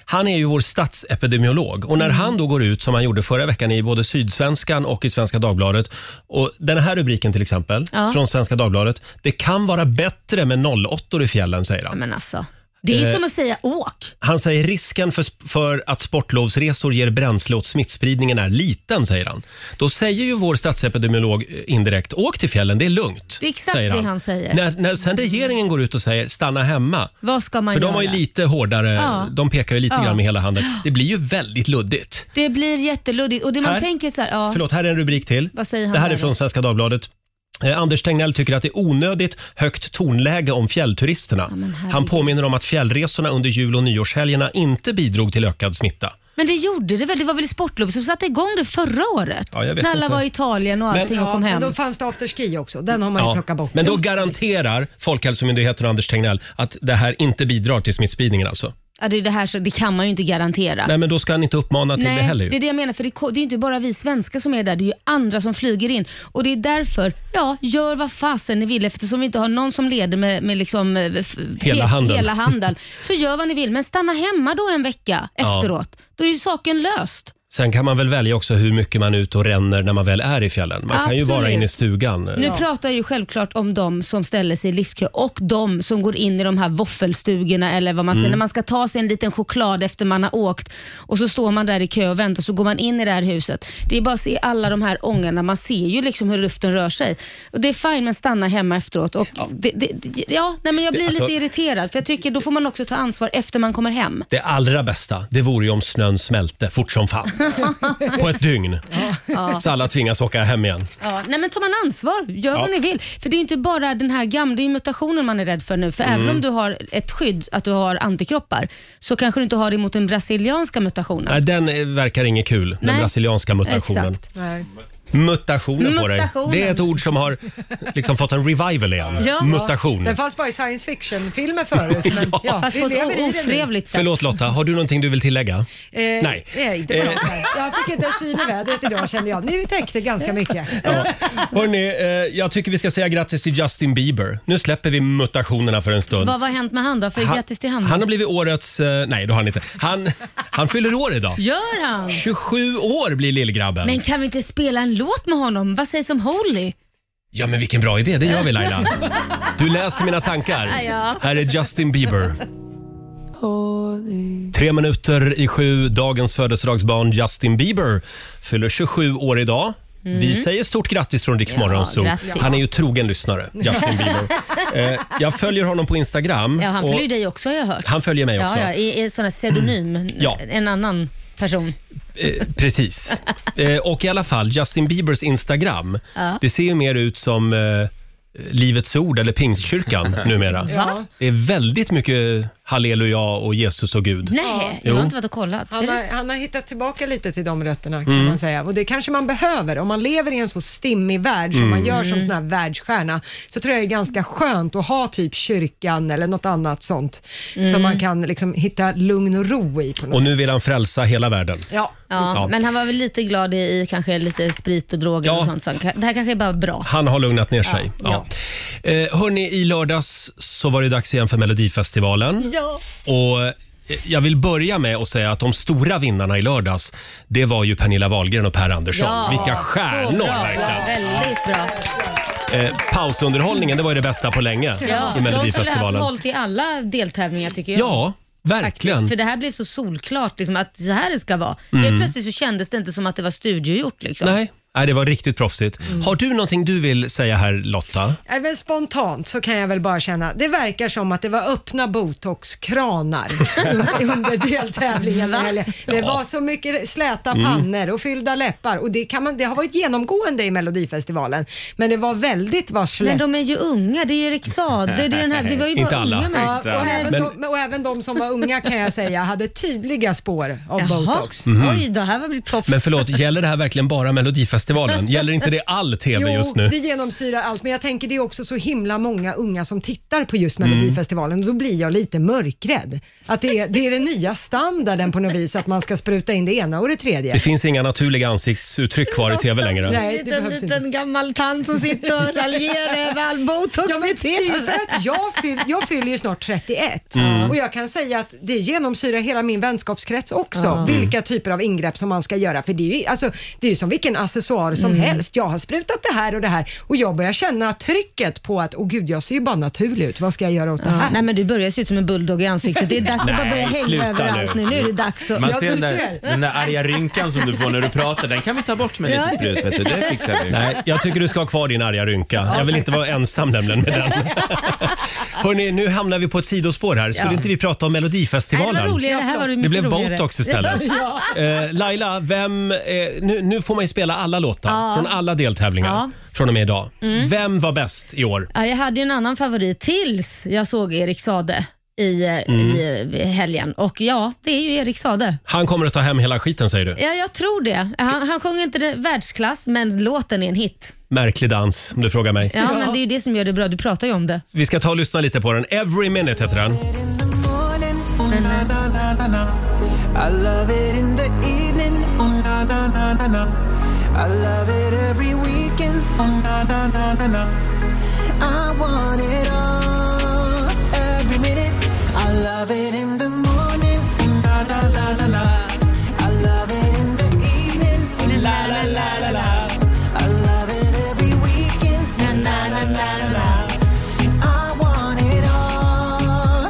Speaker 1: han är ju vår statsepidemiolog och när
Speaker 3: Mm.
Speaker 1: han då går ut som han gjorde förra veckan i både Sydsvenskan och i Svenska Dagbladet och den här rubriken till exempel
Speaker 3: Ja.
Speaker 1: från Svenska Dagbladet. Det kan vara bättre med 08 i fjällen säger han.
Speaker 3: Men alltså, Det är
Speaker 1: Eh.
Speaker 3: ju som att säga åk.
Speaker 1: Han säger risken för, sp- för att sportlovsresor ger bränsle åt smittspridningen är liten, säger han. Då säger ju vår statsepidemiolog eh, indirekt, åk till fjällen, det är lugnt.
Speaker 3: Det är exakt det han säger.
Speaker 1: När, när sen regeringen går ut och säger, stanna hemma.
Speaker 3: Vad ska man
Speaker 1: För
Speaker 3: göra?
Speaker 1: de var ju lite hårdare,
Speaker 3: Ja.
Speaker 1: de pekar ju lite
Speaker 3: Ja.
Speaker 1: grann med hela handen. Det blir ju väldigt luddigt.
Speaker 3: Det blir jätteluddigt och det man
Speaker 1: Här?
Speaker 3: tänker så här, ja.
Speaker 1: Förlåt, här är en rubrik till.
Speaker 3: Vad säger han
Speaker 1: det här
Speaker 3: där
Speaker 1: är
Speaker 3: då?
Speaker 1: från Svenska Dagbladet. Eh, Anders Tegnell tycker att det är onödigt högt tonläge om fjällturisterna.
Speaker 3: men herregud.
Speaker 1: Han påminner om att fjällresorna under jul och nyårshelgerna inte bidrog till ökad smitta.
Speaker 3: Men det gjorde det väl? Det var väl sportlov som satte igång det förra året?
Speaker 1: Ja, jag vet
Speaker 3: när alla
Speaker 1: inte.
Speaker 3: var i Italien och allting och
Speaker 2: Ja,
Speaker 3: kom
Speaker 2: men
Speaker 3: hem.
Speaker 2: då fanns det afterski också. Den har man ju plockat bort.
Speaker 3: Mm.
Speaker 1: Men då garanterar Folkhälsomyndigheten och Anders Tegnell att det här inte bidrar till smittspridningen alltså.
Speaker 3: Ja, det, är det, här, så det kan man ju inte garantera.
Speaker 1: Nej, men då ska han inte uppmana till det heller ju.
Speaker 3: det är det jag menar. För det, ko- det är ju inte bara vi svenskar som är där, det är ju andra som flyger in. Och Det är därför, ja, gör vad fasen ni vill eftersom vi inte har någon som leder med, med liksom, eh, f-
Speaker 1: Hela
Speaker 3: he-
Speaker 1: handen.
Speaker 3: hela handen. Så gör vad ni vill, men stanna hemma då en vecka
Speaker 1: Ja.
Speaker 3: efteråt. Då är ju saken löst.
Speaker 1: Sen kan man väl välja också hur mycket man är ute och ränner när man väl är i fjällen. Man kan ju
Speaker 3: Absolut.
Speaker 1: vara inne i stugan. eh,
Speaker 3: Nu pratar jag ju självklart om de som ställer sig i liftkö och de som går in i de här våffelstugorna eller vad man säger. När man ska ta sig en liten choklad efter man har åkt och så står man där i kö och väntar så går man in i det här huset. Det är bara att se alla de här ångarna. Man ser ju liksom hur luften rör sig. Och det är fint men stanna hemma efteråt. Och ja. Det, det, det- ja, nej men jag blir
Speaker 1: Det- alltså-
Speaker 3: lite irriterad för jag tycker då får man också ta ansvar efter man kommer hem.
Speaker 1: Det allra bästa, det vore ju om snön smälte fort som fan. På ett dygn. Så alla tvingas åka hem igen.
Speaker 3: Ja, nej men tar man ansvar, gör
Speaker 1: Ja.
Speaker 3: vad ni vill. För det är ju inte bara den här gamla, det är ju mutationen man är rädd för nu. För även
Speaker 1: Mm.
Speaker 3: om du har ett skydd, att du har antikroppar, så kanske du inte har det mot den brasilianska mutationen.
Speaker 1: Nej, den eh, verkar inget kul, den
Speaker 3: Nej.
Speaker 1: brasilianska mutationen.
Speaker 3: Exakt.
Speaker 2: Nej.
Speaker 1: Mutationen på dig.
Speaker 3: Mutationen.
Speaker 1: Det är ett ord som har liksom fått en revival igen.
Speaker 3: Ja.
Speaker 1: Mutation.
Speaker 2: Den fanns bara i science fiction-filmer förut. Men, ja.
Speaker 3: Fast
Speaker 2: vi
Speaker 3: på
Speaker 2: lever
Speaker 3: ett
Speaker 2: i det nu.
Speaker 3: otrevligt sätt.
Speaker 1: Förlåt Lotta, har du någonting du vill tillägga?
Speaker 2: Eh,
Speaker 1: Nej. Eh.
Speaker 2: nej det var inte. Jag fick inte en syn i vädret idag kände jag. Ni täckte ganska mycket.
Speaker 1: Ja. Hörrni, eh, jag tycker vi ska säga grattis till Justin Bieber. Nu släpper vi mutationerna för en stund.
Speaker 3: Vad har hänt med han då? För grattis till han.
Speaker 1: han har blivit årets... Eh, nej, det har han inte. Han, han fyller år idag.
Speaker 3: Gör han?
Speaker 1: 27 år blir lillgrabben.
Speaker 3: Men kan vi inte spela en låt med honom? Vad sägs om Holy?
Speaker 1: Ja, men vilken bra idé. Det gör vi Laila. Du läser mina tankar.
Speaker 3: Ja.
Speaker 1: Här är Justin Bieber. Tre minuter i sju, dagens födelsedagsbarn Justin Bieber fyller 27 år idag. Vi säger stort grattis från Rix
Speaker 3: Mm. Ja,
Speaker 1: Morgonzoo.
Speaker 3: grattis.
Speaker 1: Han är ju trogen lyssnare, Justin Bieber. eh, jag följer honom på Instagram.
Speaker 3: Ja, han följer ju
Speaker 1: och
Speaker 3: dig också har jag hört.
Speaker 1: han följer mig också. Mm.
Speaker 3: Ja, ja, i, i sån här pseudonym.
Speaker 1: Ja.
Speaker 3: En annan person.
Speaker 1: Eh, precis. Eh, och i alla fall, Justin Biebers Instagram,
Speaker 3: Ja.
Speaker 1: det ser ju mer ut som eh, Livets ord eller Pingstkyrkan numera.
Speaker 3: Va?
Speaker 1: Det är väldigt mycket halleluja och Jesus och Gud.
Speaker 3: Nej, jag
Speaker 1: Jo.
Speaker 3: har inte varit och kollat.
Speaker 2: Han
Speaker 3: Är det
Speaker 2: har, han har hittat tillbaka lite till de rötterna kan
Speaker 1: Mm.
Speaker 2: man säga. Och det kanske man behöver. Om man lever i en så stimmig värld som
Speaker 1: Mm.
Speaker 2: man gör som sån här världsstjärna så tror jag det är ganska skönt att ha typ kyrkan eller något annat sånt som man kan liksom hitta lugn och ro i på något
Speaker 1: Och
Speaker 2: sätt.
Speaker 1: nu vill han frälsa hela världen.
Speaker 2: Ja.
Speaker 3: Ja,
Speaker 1: Ja.
Speaker 3: men han var väl lite glad i, i kanske lite sprit och droger
Speaker 1: Ja.
Speaker 3: och sånt. Så han kan- det här kanske är bara bra.
Speaker 1: Han har lugnat ner sig. Ja. Eh, hörni, i lördags så var det dags igen för Melodifestivalen.
Speaker 3: Ja.
Speaker 1: Och eh, jag vill börja med att säga att de stora vinnarna i lördags, det var ju Pernilla Wahlgren och Per Andersson. Vilka
Speaker 3: Så
Speaker 1: stjärnor
Speaker 3: bra,
Speaker 1: verkligen!
Speaker 3: bra, Väldigt bra.
Speaker 1: Eh, pausunderhållningen, det var ju det bästa på länge
Speaker 3: Ja,
Speaker 1: i
Speaker 3: de skulle ha haft
Speaker 1: Melodifestivalen.
Speaker 3: hållit i alla deltävlingar tycker jag.
Speaker 1: Ja, verkligen. Mm.
Speaker 3: Faktiskt, för det här blev så solklart liksom, att så här det ska vara. Helt plötsligt så kändes det inte som att det Mm. var studiogjort. Liksom.
Speaker 1: Nej. Nej, det var riktigt proffsigt. Har du någonting du vill säga här Lotta?
Speaker 2: Även Äh, spontant så kan jag väl bara känna, det verkar som att det var öppna botoxkranar un- under deltävlingen.
Speaker 3: Va?
Speaker 2: Eller, Det var så mycket släta pannor och fyllda läppar och det, kan man, det har varit genomgående i Melodifestivalen. Men det var väldigt varslet.
Speaker 3: Men de är ju unga, det är ju Erik Saade, det, är den här, det var ju
Speaker 1: Inte
Speaker 3: bara
Speaker 1: alla.
Speaker 3: unga
Speaker 2: Ja,
Speaker 3: människor.
Speaker 2: och, även
Speaker 1: Men-
Speaker 2: de, och även de som var unga kan jag säga hade tydliga spår av
Speaker 3: Jaha,
Speaker 2: botox.
Speaker 3: oj det här var väl proffs.
Speaker 1: Mhm. Men förlåt, gäller det här verkligen bara Melodifestivalen? Gäller inte det all TV
Speaker 2: Jo,
Speaker 1: just nu?
Speaker 2: det genomsyrar allt, men jag tänker det är också så himla många unga som tittar på just Melodifestivalen och då blir jag lite mörkrädd. Att det är, det är den nya standarden på något vis, att man ska spruta in det ena och det
Speaker 1: Det
Speaker 2: tredje.
Speaker 1: finns inga naturliga ansiktsuttryck kvar i TV längre.
Speaker 2: Nej. det
Speaker 3: en liten,
Speaker 2: behövs inte.
Speaker 3: liten gammal tant som sitter och raljerar över all botox
Speaker 2: Ja, men
Speaker 3: i
Speaker 2: det är ju för
Speaker 3: TV.
Speaker 2: att jag, fyll, jag fyller ju snart 31
Speaker 1: Mm.
Speaker 2: och jag kan säga att det genomsyrar hela min vänskapskrets också. Vilka typer av ingrepp som man ska göra. För det är ju, alltså, det är ju som vilken accessoar accessoar som helst. Jag har sprutat det här och det här och jag börjar känna trycket på att, åh gud, jag ser ju bara naturlig ut. Vad ska jag göra åt det här?
Speaker 3: Nej men du börjar se ut som en bulldog i ansiktet. Det är dags att bara
Speaker 6: Nej,
Speaker 3: börja hänga
Speaker 6: sluta
Speaker 3: överallt
Speaker 6: nu.
Speaker 3: nu. Nu är det dags att...
Speaker 6: Man
Speaker 2: Ja,
Speaker 6: ser
Speaker 2: du
Speaker 6: den där,
Speaker 2: ser.
Speaker 6: den där arga rynkan som du får när du pratar, den kan vi ta bort med lite sprut. Vet du. Det fixar vi.
Speaker 1: Nej, jag tycker du ska ha kvar din arga rynka. Jag vill inte vara ensam nämligen med den. Hörrni, nu hamnar vi på ett sidospår här. Skulle
Speaker 3: Ja.
Speaker 1: inte vi prata om
Speaker 3: Nej, det
Speaker 1: Melodifestivalen?
Speaker 3: var roligare. Det här var
Speaker 1: Det
Speaker 3: mycket
Speaker 1: blev
Speaker 3: roligare.
Speaker 1: botox istället. Eh, Laila, vem, eh, nu, nu får man ju spela alla låtar från alla deltävlingar
Speaker 3: Ja. Mm.
Speaker 1: från och med idag. Vem var bäst i år?
Speaker 3: Ja, jag hade ju en annan favorit tills jag såg Erik Sade i, eh,
Speaker 6: Mm.
Speaker 3: i, i helgen. Och ja, det är ju Erik Sade.
Speaker 1: Han kommer att ta hem hela skiten säger du.
Speaker 3: Ja, jag tror det. Han, han sjunger inte det, världsklass, men låten är en hit.
Speaker 1: Märklig dans om du frågar mig.
Speaker 3: Ja, men det är ju det som gör det bra. Du pratar ju om det.
Speaker 1: Vi ska ta och lyssna lite på den. Every minute heter den.
Speaker 9: I love it in the evening. Oh, na, na, na, na, na. I love it every weekend. Oh, na, na, na, na, na. I want it all every minute. I love it in the morning. Oh, na, na, na, na, na. I love it in the evening. Oh, la, la, la, la, la. I love it every weekend. Na, na, na, na, na, na. I want it all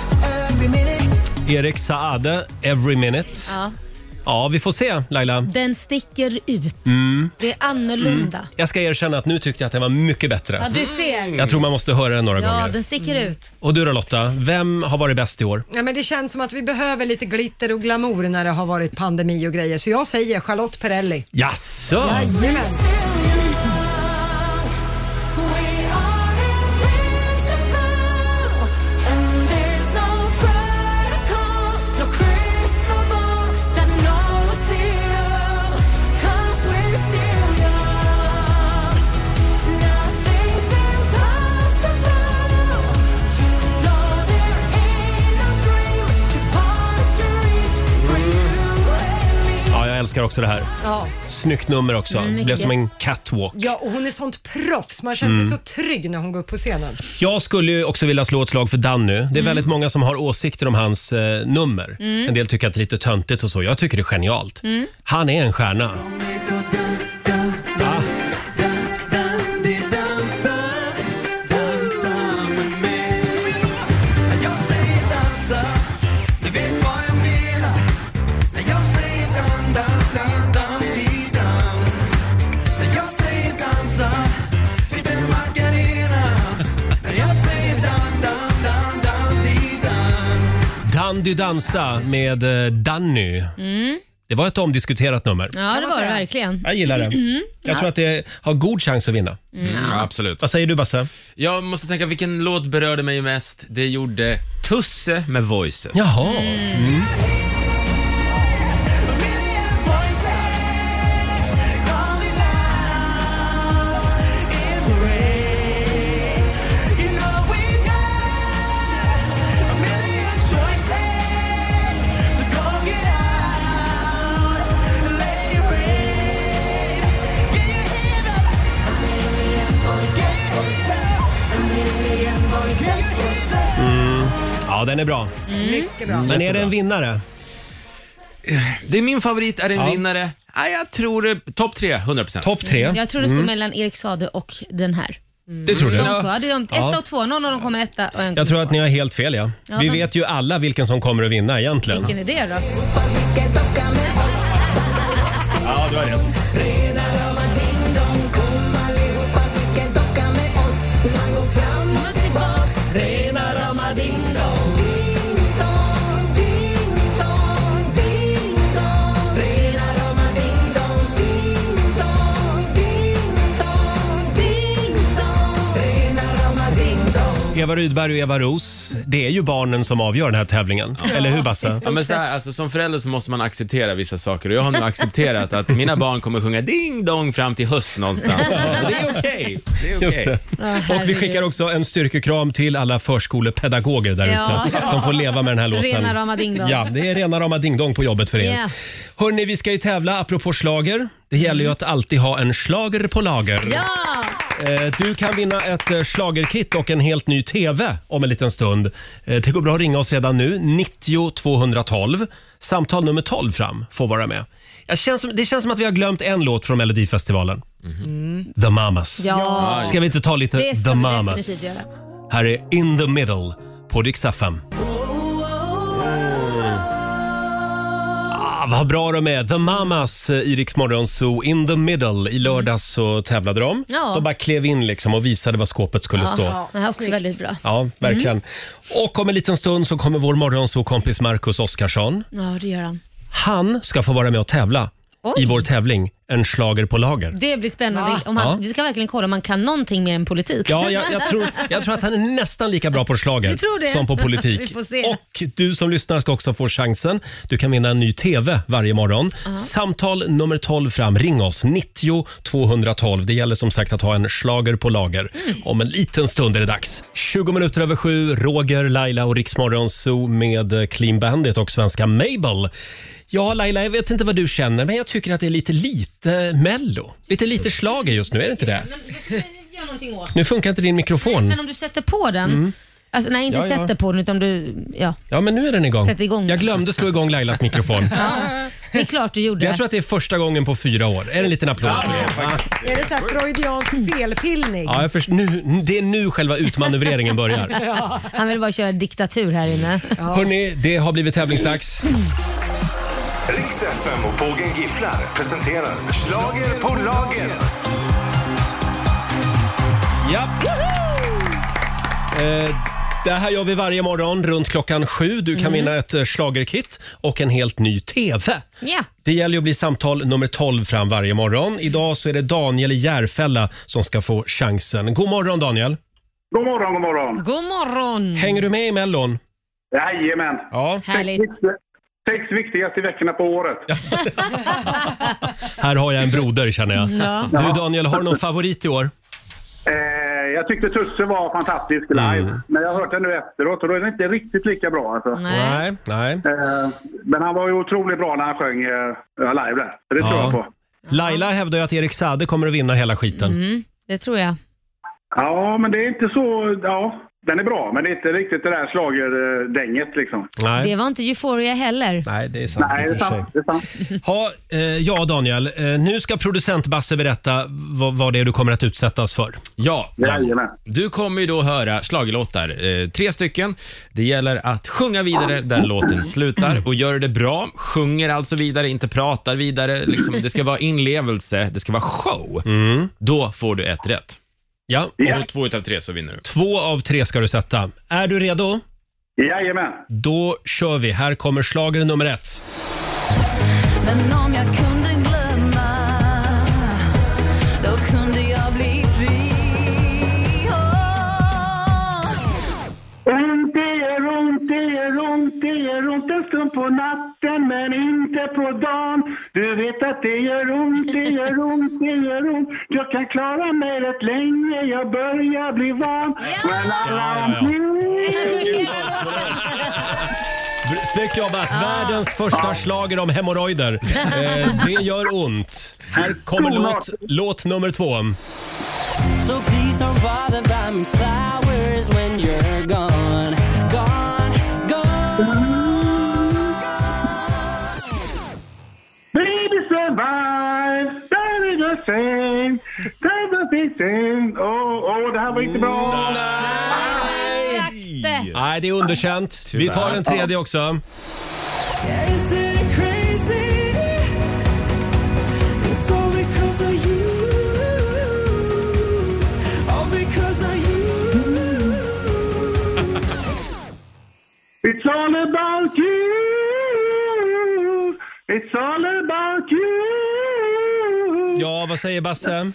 Speaker 9: every minute.
Speaker 1: Erik Saade, Every minute.
Speaker 3: Ja.
Speaker 1: Ja, vi får se Laila.
Speaker 3: Den sticker ut.
Speaker 6: Mm.
Speaker 3: Det är annorlunda.
Speaker 1: Jag ska erkänna att nu tyckte jag att den var mycket bättre.
Speaker 3: Mm. Ja, du ser. Mm.
Speaker 1: Jag tror man måste höra den några
Speaker 3: Ja,
Speaker 1: gånger.
Speaker 3: den sticker ut.
Speaker 1: Och du då Lotta, vem har varit bäst i år?
Speaker 2: Ja, men det känns som att vi behöver lite glitter och glamour när det har varit pandemi och grejer, så jag säger Charlotte Perrelli.
Speaker 1: Jaså?
Speaker 2: Jajamän.
Speaker 1: Ja, jag älskar också det här.
Speaker 2: Ja.
Speaker 1: Snyggt nummer också.
Speaker 3: Mm,
Speaker 1: Det blev
Speaker 3: mycket.
Speaker 1: som en catwalk.
Speaker 2: ja, och hon är sånt proffs. Man känner
Speaker 1: Mm.
Speaker 2: sig så trygg när hon går upp på scenen.
Speaker 1: Jag skulle ju också vilja slå ett slag för Danny. Det är väldigt många som har åsikter om hans eh, nummer. En del tycker att det är lite töntigt och så. Jag tycker det är genialt. Han är en stjärna. Dandy dansa med eh, Danny. Det var ett omdiskuterat nummer.
Speaker 3: Ja, det var det verkligen.
Speaker 1: Jag gillar det. Jag tror att det har god chans att vinna.
Speaker 6: Mm, ja, absolut.
Speaker 1: Vad säger du Basse?
Speaker 6: Jag måste tänka, vilken låt berörde mig mest? Det gjorde Tusse med Voices.
Speaker 1: Jaha. Mm. Ja, den är bra.
Speaker 2: Mycket bra.
Speaker 1: Men är det en vinnare?
Speaker 6: Det är min favorit, är en
Speaker 1: Ja.
Speaker 6: vinnare. Ja, jag tror eh, topp tre, 100%.
Speaker 1: Topp tre?
Speaker 3: Mm, Jag Mm, tror det
Speaker 1: Mm.
Speaker 3: står mellan Erik Sade och den här.
Speaker 1: Det tror du?
Speaker 3: De två, hade de, etta och två. Någon av dem kommer etta och en
Speaker 1: Jag tror att ni
Speaker 3: kommer
Speaker 1: har helt fel ja.
Speaker 3: Ja,
Speaker 1: Vi
Speaker 3: men-
Speaker 1: vet ju alla vilken som kommer att vinna
Speaker 3: tvåa.
Speaker 1: egentligen.
Speaker 3: Vilken idé då?
Speaker 9: Que tocan
Speaker 1: Ja, du har rätt.
Speaker 9: que tócame os Mango fram och tillbaks Rena rama ding dong Ding dong, ding dong, ding dong Rena rama ding dong Ding dong, ding dong, ding dong Rena rama ding dong
Speaker 1: Eva Rydberg och Eva Ros, det är ju barnen som avgör den här tävlingen. Eller hur Basse?
Speaker 6: Ja, men så här, alltså, som förälder så måste man acceptera vissa saker och jag har nu accepterat att mina barn kommer sjunga ding dong fram till höst någonstans. Och det är okej. Det är
Speaker 1: Just
Speaker 6: okej.
Speaker 1: det.
Speaker 3: herregud.
Speaker 1: Och vi skickar också en styrkekram till alla förskolepedagoger där
Speaker 3: Ja.
Speaker 1: ute som får leva med den här låten.
Speaker 3: Rena rama ding dong.
Speaker 1: Ja, det är rena rama dingdong på jobbet för er.
Speaker 3: Yeah.
Speaker 1: Hörni, vi ska ju tävla apropå slager. Det gäller ju att alltid ha en slager på lager.
Speaker 3: Ja!
Speaker 1: Eh, Du kan vinna ett eh, schlagerkit och en helt ny TV om en liten stund. Eh, Det går bra att ringa oss redan nu. 90 212. Samtal nummer 12 fram får vara med. Jag känns som, det känns som att vi har glömt en låt från Melodifestivalen. The Mamas.
Speaker 3: Ja,
Speaker 1: Ska vi inte ta lite
Speaker 3: det ska
Speaker 1: The
Speaker 3: vi
Speaker 1: Mamas?
Speaker 3: definitivt göra.
Speaker 1: Här är In the Middle på Dix FM. Ah, vad bra de är. The Mamas eh, i Rix Morgon Zoo. In the Middle. I lördags så tävlade de.
Speaker 3: Ja.
Speaker 1: De bara klev in liksom och visade vad skåpet skulle stå.
Speaker 3: Det här är också väldigt bra.
Speaker 1: Ja, verkligen. Och om en liten stund så kommer vår morgonzoo-kompis Marcus Oskarsson.
Speaker 3: Ja, det gör han.
Speaker 1: Han ska få vara med och tävla
Speaker 3: Oj.
Speaker 1: i vår tävling En schlager på lager.
Speaker 3: Det blir spännande. Om
Speaker 1: Ja.
Speaker 3: han, Vi ska verkligen kolla om man kan någonting mer än politik.
Speaker 1: Ja, jag, jag, tror, jag tror att han är nästan lika bra på
Speaker 3: Vi tror
Speaker 1: schlager
Speaker 3: det.
Speaker 1: som på politik.
Speaker 3: Vi får se.
Speaker 1: Och du som lyssnar ska också få chansen. Du kan vinna en ny TV varje morgon. Samtal nummer 12 fram. Ring oss, 90 212. Det gäller som sagt att ha en schlager på lager.
Speaker 3: Mm.
Speaker 1: Om en liten stund är det dags. 20 minuter över sju, Roger, Laila och Riksmorgon Zoo med eh, Clean Bandit och svenska Mabel. Ja, Laila, jag vet inte vad du känner, men jag tycker att det är lite lite Mello. Lite lite schlager just nu, är det inte det?
Speaker 3: Gör någonting åt.
Speaker 1: Nu funkar inte din mikrofon.
Speaker 3: Men om du sätter på den. Alltså, nej, inte
Speaker 1: Mm. Ja, ja.
Speaker 3: sätter på den utan du... Ja.
Speaker 1: Ja, men nu är den igång.
Speaker 3: Sätt igång.
Speaker 1: Jag glömde slå igång Lailas mikrofon.
Speaker 3: Det är klart du gjorde.
Speaker 1: Jag tror att det är första gången på fyra år. Är det en liten applåd?
Speaker 2: Är det så här freudiansk felpillning?
Speaker 1: Mm. Ja, jag först, nu, det är nu själva utmanövreringen börjar.
Speaker 3: Han vill bara köra diktatur här inne.
Speaker 1: Hörni, det har blivit tävlingsdags.
Speaker 4: Riks FM och Pågen Gifflar presenterar Slager på lager.
Speaker 1: Ja. Eh, det här gör vi varje morgon runt klockan sju. Du
Speaker 3: Mm.
Speaker 1: kan vinna ett eh, schlagerkit och en helt ny TV.
Speaker 3: Ja.
Speaker 1: Det gäller ju att bli samtal nummer 12 fram varje morgon. Idag så är det Daniel i Järfälla som ska få chansen. God morgon Daniel!
Speaker 8: God morgon, god morgon.
Speaker 3: God morgon!
Speaker 1: Hänger du med i Mellon?
Speaker 8: Jajamän.
Speaker 1: Ja.
Speaker 3: Härligt.
Speaker 8: Sex viktigaste veckorna på året.
Speaker 1: Här har jag en broder känner jag.
Speaker 3: Ja.
Speaker 1: Du Daniel, har du någon favorit i år?
Speaker 8: Eh, jag tyckte Tusse var fantastisk live, men jag har hört den nu efteråt och då är den inte riktigt lika bra. Alltså.
Speaker 3: Nej.
Speaker 1: nej.
Speaker 8: Eh, men han var ju otroligt bra när han sjöng eh, live där, så det tror
Speaker 1: Ja.
Speaker 8: jag på.
Speaker 1: Laila hävdar ju att Erik Sade kommer att vinna hela skiten.
Speaker 3: Mm. Det tror jag.
Speaker 8: Ja, men det är inte så... Ja, den är bra, men det är inte riktigt det där schlagerdänget liksom.
Speaker 1: Nej.
Speaker 3: Det var inte Euphoria heller.
Speaker 1: nej, det är sant
Speaker 8: Nej,
Speaker 1: i
Speaker 8: det
Speaker 1: och
Speaker 8: är
Speaker 1: för sig.
Speaker 8: sant. Det är sant.
Speaker 1: Ha, eh, ja, Daniel. Eh, nu ska producent Basse berätta vad, vad det är du kommer att utsättas för.
Speaker 6: Ja,
Speaker 8: Jajamän.
Speaker 6: du kommer ju då höra schlagerlåtar, eh, tre stycken. Det gäller att sjunga vidare där låten slutar och gör det bra. Sjunger alltså vidare, inte pratar vidare. Liksom, det ska vara inlevelse, det ska vara show.
Speaker 1: Mm.
Speaker 6: Då får du ett rätt.
Speaker 1: Ja.
Speaker 8: Ja.
Speaker 6: Och två utav tre så vinner du.
Speaker 1: Två av tre ska du sätta. Är du redo?
Speaker 8: Jajamän.
Speaker 1: Då kör vi. Här kommer slager nummer ett.
Speaker 9: Men om jag kunde glömma Då kunde jag bli fri
Speaker 8: Ont det gör ont, det gör ont, det gör ont en stund på natten men inte på dagen. Du vet att det gör ont, det gör ont, det gör ont. Jag kan klara mig rätt länge, jag börjar bli van. Men alla
Speaker 1: Ja, ja,
Speaker 8: blir-
Speaker 1: Br- Snyggt jobbat!
Speaker 3: Ah.
Speaker 1: Världens första slager om hemorrojder. Eh, det gör ont. Här kommer låt, låt nummer två.
Speaker 9: So please don't bother by me flowers when you're gone Gone, gone
Speaker 8: Baby survive, that is the same, that is the same. Åh, åh, det här var inte bra.
Speaker 3: Sakte.
Speaker 1: Nej, det är underkänt. Vi tar den tredje också.
Speaker 9: Is it crazy? It's all because of you All because of you
Speaker 8: It's all about you. It's all about you.
Speaker 1: Ja, vad säger Basse?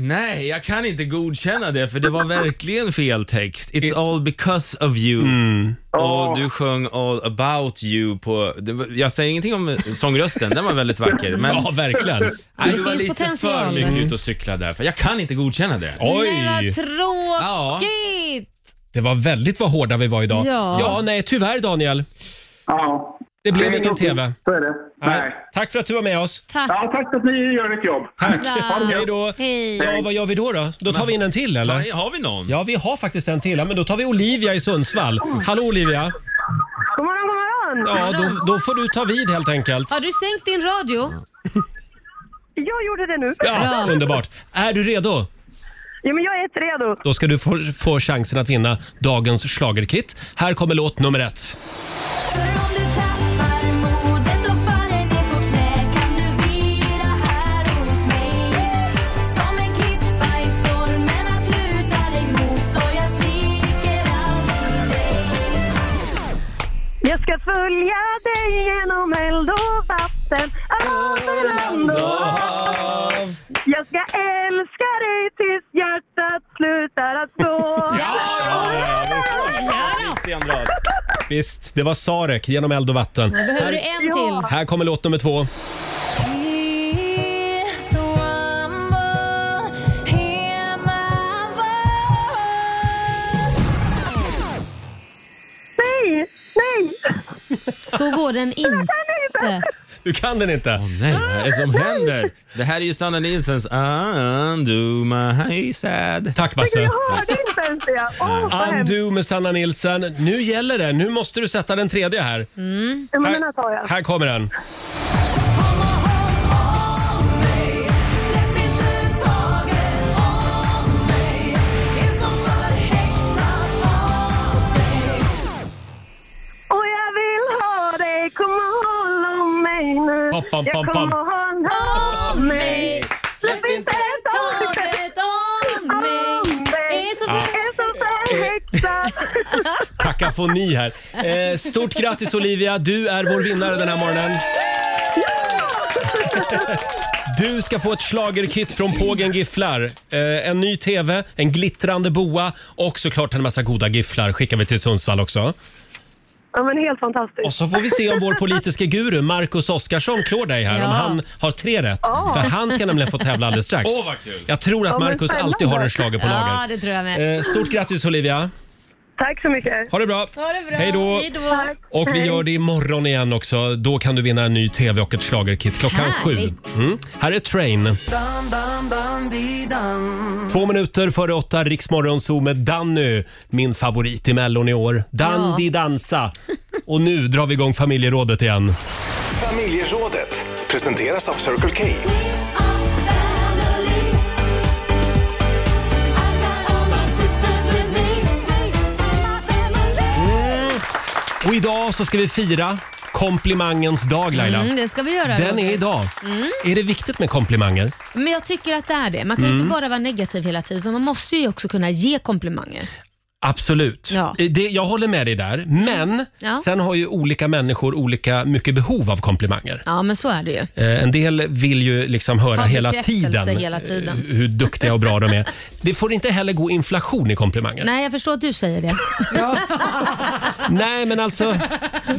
Speaker 6: Nej, jag kan inte godkänna det för det var verkligen fel text. It's all because of you.
Speaker 3: Mm.
Speaker 6: Och du sjöng all about you på... Det var, jag säger ingenting om sångrösten, den var väldigt vacker. Men
Speaker 1: Ja, verkligen.
Speaker 3: Det
Speaker 6: nej, du var
Speaker 3: finns
Speaker 6: lite för
Speaker 3: potential.
Speaker 6: mycket ute och cyklade där. För jag kan inte godkänna det.
Speaker 3: Nej,
Speaker 1: Oj!
Speaker 3: vad tråkigt!
Speaker 1: Det var väldigt vad hårda vi var idag.
Speaker 3: Ja.
Speaker 1: nej, tyvärr Daniel.
Speaker 8: Ja.
Speaker 1: Det blev
Speaker 8: är
Speaker 1: ingen
Speaker 8: tråkigt.
Speaker 1: TV.
Speaker 8: Så är det.
Speaker 1: Nej.
Speaker 8: Nej.
Speaker 1: Tack för att du var med oss.
Speaker 3: Tack.
Speaker 8: Ja, tack för att ni gör ert jobb.
Speaker 1: Tack.
Speaker 3: Ja.
Speaker 1: Hej då.
Speaker 3: Hej.
Speaker 1: Ja, vad gör vi då då? Då tar vi in en till eller?
Speaker 6: Nej, har vi någon?
Speaker 1: Ja, vi har faktiskt en till. Ja, men då tar vi Olivia i Sundsvall. Hallå Olivia!
Speaker 10: God morgon, god morgon!
Speaker 8: Jajamän!
Speaker 1: Ja, då, då får du ta vid helt enkelt.
Speaker 3: Har du sänkt din radio?
Speaker 8: Jag gjorde det nu.
Speaker 1: Ja, underbart. Är du redo?
Speaker 8: Ja, men jag är ett redo.
Speaker 1: Då ska du få, få chansen att vinna dagens schlagerkit. Här kommer låt nummer ett.
Speaker 8: Jag ska följa dig genom eld och vatten, över land och hav. Jag ska älska dig tills hjärtat slutar att slå.
Speaker 1: Visst, det var Sarek, Genom eld och vatten.
Speaker 3: Nu behöver du en till.
Speaker 1: Här kommer låt nummer två.
Speaker 8: Nej, nej!
Speaker 3: Så går den inte.
Speaker 1: Du kan den inte.
Speaker 6: Nej, vad är det som händer? Det här är ju Sanna Nilsens Undo my sad.
Speaker 1: Tack Basse.
Speaker 8: Jag hörde inte ens det. Åh, vad hemskt.
Speaker 1: Undo med Sanna Nilsson. Nu gäller det. Nu måste du sätta den tredje här.
Speaker 8: Ja, men den här tar
Speaker 1: Här,
Speaker 8: jag.
Speaker 1: här kommer den.
Speaker 8: Och jag vill ha dig, kom och håll om mig nu.
Speaker 1: Pam, pam, pam,
Speaker 8: jag
Speaker 1: pam.
Speaker 8: kommer och håll om mig. Släpp inte taget
Speaker 3: Taget om mig
Speaker 8: om dig.
Speaker 3: är som
Speaker 8: Jag är som en häxa.
Speaker 1: Kakafoni här. Eh, stort grattis Olivia. Du är vår vinnare den här morgonen. Du ska få ett schlagerkit från Pågen Gifflar. Eh, en ny TV, en glittrande boa och såklart en massa goda gifflar skickar vi till Sundsvall också.
Speaker 8: Ja, men helt fantastiskt.
Speaker 1: Och så får vi se om vår politiska guru Marcus Oskarsson klår dig här,
Speaker 3: Ja.
Speaker 1: om han har tre rätt. För han ska nämligen få tävla alldeles strax.
Speaker 6: Åh, vad kul.
Speaker 1: Jag tror att
Speaker 8: Ja, men
Speaker 1: Marcus
Speaker 8: spännande.
Speaker 1: alltid har en slager på
Speaker 3: Ja,
Speaker 1: lager.
Speaker 3: det tror jag med.
Speaker 1: Eh, stort grattis Olivia.
Speaker 8: Tack så mycket.
Speaker 1: Ha det bra.
Speaker 3: Ha det bra.
Speaker 1: Hej då.
Speaker 3: Hej då.
Speaker 1: Och vi gör det imorgon igen också. Då kan du vinna en ny TV och ett schlagerkit klockan
Speaker 3: Härligt.
Speaker 1: sju. Mm. Här är Train.
Speaker 9: Dun, dun, dun, di, dun.
Speaker 1: Två minuter före åtta, Riksmorgon Zoo med Danny, min favorit i Mellon i år. Dandy dansa. Och nu drar vi igång familjerådet igen.
Speaker 4: Familjerådet presenteras av Circle K.
Speaker 1: Och idag så ska vi fira komplimangens dag Laila.
Speaker 3: Mm, det ska vi Mm. göra.
Speaker 1: Den
Speaker 3: Roger.
Speaker 1: är idag. Är det viktigt med komplimanger?
Speaker 3: Men jag tycker att det är det. Man kan ju
Speaker 1: Mm.
Speaker 3: inte bara vara negativ hela tiden, så man måste ju också kunna ge komplimanger.
Speaker 1: Absolut. Eh,
Speaker 3: Ja.
Speaker 1: Det, jag håller med dig där. Men
Speaker 3: Ja.
Speaker 1: sen har ju olika människor olika mycket behov av komplimanger.
Speaker 3: Ja, men så är det ju.
Speaker 1: Eh, En del vill ju liksom höra
Speaker 3: Ha
Speaker 1: hela
Speaker 3: bekräftelse
Speaker 1: tiden,
Speaker 3: hela tiden.
Speaker 1: eh, hur duktiga och bra de är. Det får inte heller gå inflation i komplimanger.
Speaker 3: Nej, jag förstår att du säger det.
Speaker 1: Nej, men alltså,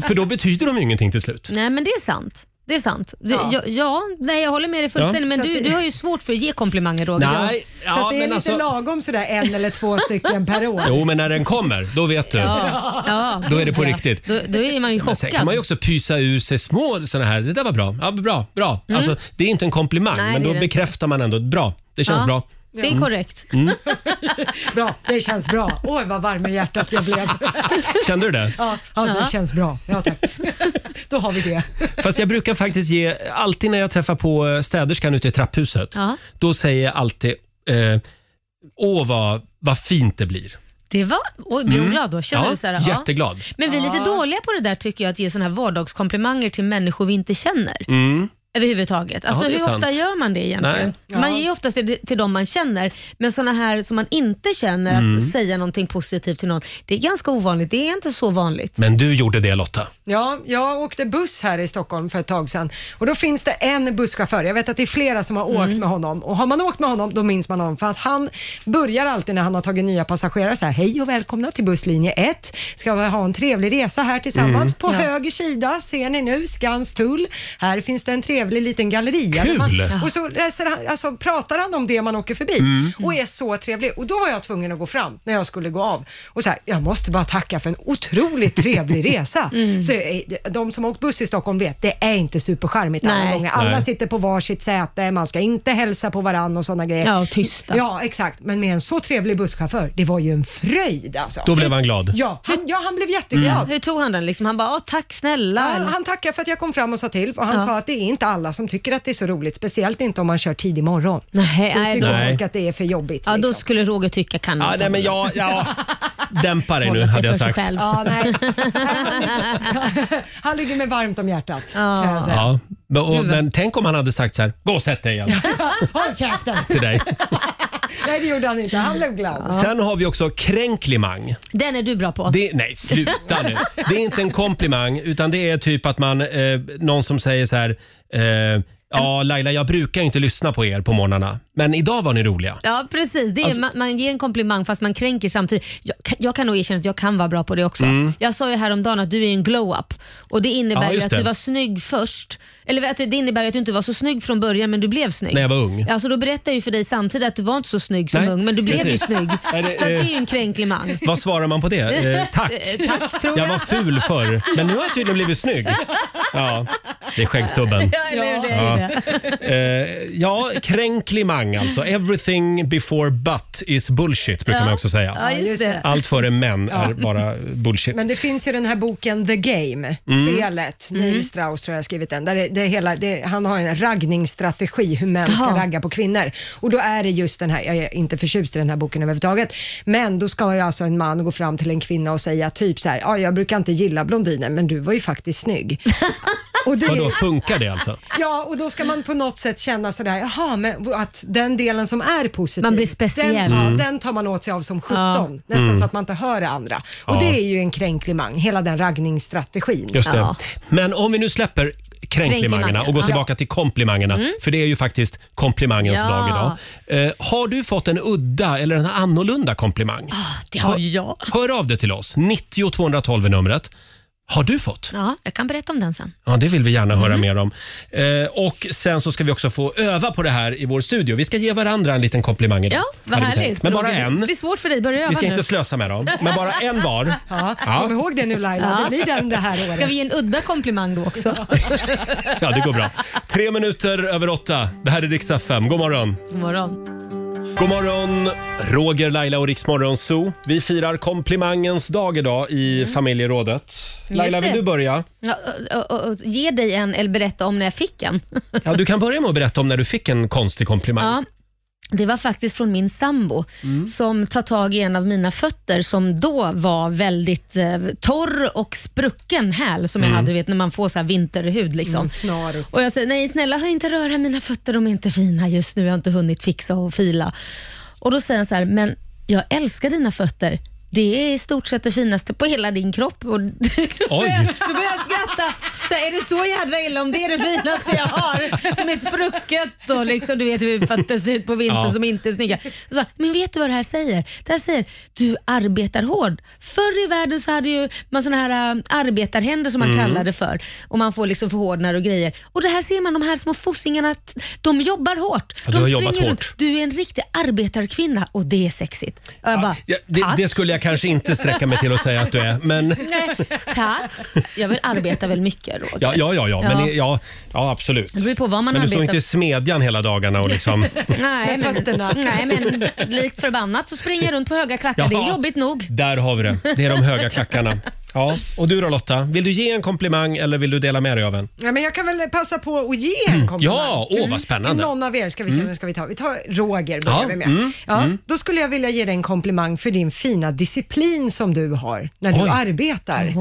Speaker 1: för då betyder de ju ingenting till slut.
Speaker 3: nej, men det är sant. Det är sant. Du, ja. Jag, ja, nej, jag håller med dig fullständigt, men du, du har ju svårt för att ge komplimanger Roger.
Speaker 1: Nej,
Speaker 2: Så
Speaker 1: ja,
Speaker 2: att det är
Speaker 1: men
Speaker 2: lite
Speaker 1: alltså,
Speaker 2: lagom sådär en eller två stycken per år.
Speaker 1: jo, men när den kommer, då vet du.
Speaker 3: Ja, ja,
Speaker 1: Då är det på
Speaker 3: ja.
Speaker 1: riktigt.
Speaker 3: Då, då är man ju
Speaker 1: Men
Speaker 3: chockad.
Speaker 1: sen kan man ju också pysa ur sig små såna här. Det där var bra. Ja, bra, bra. Alltså, det är inte en komplimang,
Speaker 3: Mm. Nej,
Speaker 1: men
Speaker 3: det
Speaker 1: då
Speaker 3: är det
Speaker 1: bekräftar man ändå. Bra, det känns
Speaker 3: Ja,
Speaker 1: bra.
Speaker 3: Det
Speaker 1: Mm.
Speaker 3: är korrekt.
Speaker 2: Bra, det känns bra. Oj, vad varm i hjärtat jag blev.
Speaker 1: Kände du det?
Speaker 2: Ja, ja det känns bra. Ja, tack. Då har vi det.
Speaker 1: Fast jag brukar faktiskt ge, alltid när jag träffar på eh, städerskan ute i trapphuset,
Speaker 3: Ja.
Speaker 1: då säger jag alltid eh, Åh, vad, vad fint det blir.
Speaker 3: Det var... Oj, blir hon glad då? Känner
Speaker 1: Mm. Ja,
Speaker 3: du så här, ja.
Speaker 1: jätteglad.
Speaker 3: Men vi är lite dåliga på det där tycker jag, att ge sådana här vardagskomplimanger till människor vi inte känner. Överhuvudtaget. Alltså,
Speaker 1: Mm. Ja, det är
Speaker 3: hur ofta
Speaker 1: sant.
Speaker 3: gör man det egentligen? Man ger oftast det till de man känner, men sådana här som man inte känner, att
Speaker 1: Mm.
Speaker 3: säga någonting positivt till någon, det är ganska ovanligt. Det är inte så vanligt.
Speaker 1: Men du gjorde det Lotta.
Speaker 2: Ja, jag åkte buss här i Stockholm för ett tag sedan och då finns det en busschaufför. Jag vet att det är flera som har åkt med honom och har man åkt med honom då minns man honom för att han börjar alltid när han har tagit nya passagerare så här, hej och välkomna till busslinje 1. Ska vi ha en trevlig resa här tillsammans? På höger sida ser ni nu Skans tull. Här finns det en trevlig trevlig liten galleria.
Speaker 1: Kul!
Speaker 2: där Man, och så läser han, alltså, pratar han om det man åker förbi
Speaker 1: Mm.
Speaker 2: och är så trevlig. Och då var jag tvungen att gå fram när jag skulle gå av och så här, jag måste bara tacka för en otroligt trevlig resa.
Speaker 3: Mm.
Speaker 2: Så, eh, de som har åkt buss i Stockholm vet, det är inte supercharmigt alla
Speaker 3: Nej.
Speaker 2: gånger. Alla
Speaker 3: Nej.
Speaker 2: sitter på varsitt säte, man ska inte hälsa på varandra och sådana grejer.
Speaker 3: Ja, och tysta.
Speaker 2: Ja, exakt. Men med en så trevlig busschaufför, det var ju en fröjd alltså.
Speaker 1: Då blev han glad.
Speaker 2: Ja, han, ja, han blev jätteglad.
Speaker 3: Hur tog han den? Liksom, han bara, "Åh, tack snälla.
Speaker 2: Ja,
Speaker 3: eller?
Speaker 2: han tackade för att jag kom fram och sa till och han
Speaker 3: Ja.
Speaker 2: sa att det är inte alla som tycker att det är så roligt, speciellt inte om man kör tidig morgon.
Speaker 3: Nej,
Speaker 2: Då
Speaker 3: nej,
Speaker 2: tycker
Speaker 1: nej.
Speaker 2: folk att det är för jobbigt. liksom.
Speaker 3: Ja, då skulle Roger tycka kan
Speaker 1: Ja, nej, men jag, ja, dämpa dig nu
Speaker 3: Hålla sig
Speaker 1: hade jag
Speaker 3: för sig
Speaker 1: sagt.
Speaker 3: själv.
Speaker 2: Ja, nej. Han ligger mig varmt om hjärtat. Kan jag säga.
Speaker 1: Ja, men, och, men tänk om han hade sagt så här, gå och sätt dig igen
Speaker 2: Håll käften!
Speaker 1: till dig.
Speaker 2: Nej, det gjorde han inte. Han blev glad.
Speaker 1: Sen har vi också kränklimang.
Speaker 3: Den är du bra på.
Speaker 1: Det, nej, sluta nu. Det är inte en komplimang utan det är typ att man, eh, någon som säger så här, eh, ja Laila jag brukar ju inte lyssna på er på morgnarna, men idag var ni roliga.
Speaker 3: Ja, precis. Det är,
Speaker 1: Alltså-
Speaker 3: man, man ger en komplimang fast man kränker samtidigt. Jag, kan- jag kan nog erkänna att jag kan vara bra på det också.
Speaker 1: Mm.
Speaker 3: Jag sa ju häromdagen att du är en glow-up och det innebär
Speaker 1: Ja,
Speaker 3: ju
Speaker 1: just
Speaker 3: att
Speaker 1: det.
Speaker 3: du var snygg först. Eller att det innebär ju att du inte var så snygg från början men du blev snygg.
Speaker 1: När jag var ung.
Speaker 3: Alltså då berättar jag ju för dig samtidigt att du var inte så snygg som
Speaker 1: Nej,
Speaker 3: ung men du blev
Speaker 1: precis.
Speaker 3: ju snygg.
Speaker 1: Är det,
Speaker 3: så att det är ju
Speaker 1: eh,
Speaker 3: en kränklimang.
Speaker 1: Vad svarar man på det? Eh, tack.
Speaker 3: Eh, tack tror
Speaker 1: Jag
Speaker 3: jag.
Speaker 1: var ful förr, men nu har jag tydligen blivit snygg. Ja, det är skäggstubben.
Speaker 3: Ja, eller hur? Det är
Speaker 1: Ja.
Speaker 3: ju det.
Speaker 1: Eh, ja, kränklimang alltså. Everything before but is bullshit brukar
Speaker 2: Ja.
Speaker 1: man också säga.
Speaker 2: Ja, just det.
Speaker 1: Allt före män
Speaker 2: Ja.
Speaker 1: är bara bullshit.
Speaker 2: Men det finns ju den här boken The Game,
Speaker 1: Mm.
Speaker 2: spelet. Neil Strauss tror jag har skrivit den. Där det, det hela, det, han har en raggningsstrategi hur män ska
Speaker 3: Jaha.
Speaker 2: ragga på kvinnor. Och då är det just den här, jag är inte förtjust i den här boken överhuvudtaget, men då ska ju alltså en man gå fram till en kvinna och säga typ så här, ja jag brukar inte gilla blondiner men du var ju faktiskt snygg. och det-
Speaker 1: Vadå, funkar det alltså?
Speaker 2: Ja, och då ska man på något sätt känna sådär, jaha, men att den delen som är positiv.
Speaker 3: Man blir speciell.
Speaker 2: Den, ja,
Speaker 3: Mm.
Speaker 2: den tar man åt sig av som 17.
Speaker 3: Ja.
Speaker 2: Nästan
Speaker 1: Mm.
Speaker 2: så att man inte hör det andra. Och
Speaker 1: Ja.
Speaker 2: det är ju en kränklimang, hela den raggningsstrategin.
Speaker 1: Just det. Men om vi nu släpper kränklimangerna och går
Speaker 2: Ja.
Speaker 1: tillbaka till komplimangerna,
Speaker 2: Mm.
Speaker 1: för det är ju faktiskt komplimangens
Speaker 3: Ja.
Speaker 1: dag idag. Eh, har du fått en udda eller en annorlunda komplimang?
Speaker 3: Ah, det har jag.
Speaker 1: Hör av dig till oss, 90 212 är numret. Har du fått?
Speaker 3: Ja, jag kan berätta om den sen.
Speaker 1: Ja, det vill vi gärna
Speaker 3: Mm.
Speaker 1: höra mer om. Eh, och sen så ska vi också få öva på det här i vår studio. Vi ska ge varandra en liten komplimang idag.
Speaker 3: Ja, vad
Speaker 1: hade vi
Speaker 3: härligt.
Speaker 1: tänkt. Men bara
Speaker 3: Roger.
Speaker 1: en.
Speaker 3: Det är svårt för dig, börja öva
Speaker 1: Vi ska
Speaker 3: nu.
Speaker 1: inte slösa med dem, men bara en var.
Speaker 2: Ja,
Speaker 1: Ja.
Speaker 2: Kom ihåg det nu Laila,
Speaker 3: Ja.
Speaker 2: det blir den det här året.
Speaker 3: Ska vi ge en udda komplimang då också?
Speaker 1: Ja, det går bra. Tre minuter över åtta. Det här är riksdag 5. God morgon!
Speaker 3: God morgon.
Speaker 1: God morgon, Roger, Laila och Riksmorgon Zoo. Vi firar komplimangens dag idag i familjerådet. Laila,
Speaker 3: Mm. det.
Speaker 1: vill du börja?
Speaker 3: Ja, och, och, och, ge dig en eller berätta om när jag fick en.
Speaker 1: Ja, du kan börja med att berätta om när du fick en konstig komplimang.
Speaker 3: Ja, det var faktiskt från min sambo
Speaker 1: Mm.
Speaker 3: som tar tag i en av mina fötter som då var väldigt eh, torr och sprucken häl som
Speaker 11: Mm.
Speaker 3: jag hade vet, när man får så här vinterhud. Liksom.
Speaker 11: Mm, snarigt.
Speaker 3: och jag säger nej snälla hör inte röra mina fötter, de är inte fina just nu. Jag har inte hunnit fixa och fila. Och Då säger han så här, men jag älskar dina fötter. Det är i stort sett det finaste på hela din kropp. Och
Speaker 1: Oj!
Speaker 3: Då börjar jag skratta. Så här, är det så jädra illa om det är det finaste jag har som är sprucket och liksom, du vet hur fötter ser ut på vintern
Speaker 11: Ja.
Speaker 3: som inte är snygga. Så, sa han, men vet du vad det här säger? Det här säger du arbetar hårt. Förr i världen så hade ju man såna här äh, arbetarhänder som man
Speaker 11: Mm.
Speaker 3: kallar det för och man får liksom förhårdnader och grejer. Och det här ser man, de här små fossingarna, att de jobbar hårt.
Speaker 1: Ja, du
Speaker 3: de
Speaker 1: har jobbat
Speaker 3: springer
Speaker 1: hårt.
Speaker 3: runt. Du är en riktig arbetarkvinna och det är sexigt. Och jag bara,
Speaker 1: Ja, det, det skulle jag kanske inte sträcka mig till att säga att du är, men...
Speaker 3: Nej, tack. Jag vill arbeta väl mycket Roger.
Speaker 1: Ja, ja, ja, ja, men
Speaker 3: Ja.
Speaker 1: i- ja, ja absolut.
Speaker 3: Det beror på vad man
Speaker 1: men du står
Speaker 3: arbetar-
Speaker 1: inte i smedjan hela dagarna och liksom...
Speaker 3: Nej,
Speaker 2: Med fötterna.
Speaker 3: men, nej, men likt förbannat så springer jag runt på höga klackar. Det
Speaker 1: Jaha.
Speaker 3: är jobbigt nog.
Speaker 1: Där har vi det. Det är de höga klackarna. Ja, och du då Lotta? Vill du ge en komplimang eller vill du dela med dig av en?
Speaker 2: Ja, men jag kan väl passa på att ge en komplimang.
Speaker 1: Ja, åh, vad
Speaker 2: Mm.
Speaker 1: spännande.
Speaker 2: Till någon av er ska vi se
Speaker 1: Mm.
Speaker 2: vem ska vi ta. Vi tar Roger börjar
Speaker 1: Ja,
Speaker 2: vi med.
Speaker 1: mm,
Speaker 2: Ja,
Speaker 1: mm.
Speaker 2: Då skulle jag vilja ge dig en komplimang för din fina disciplin som du har när du
Speaker 1: Oj.
Speaker 2: arbetar.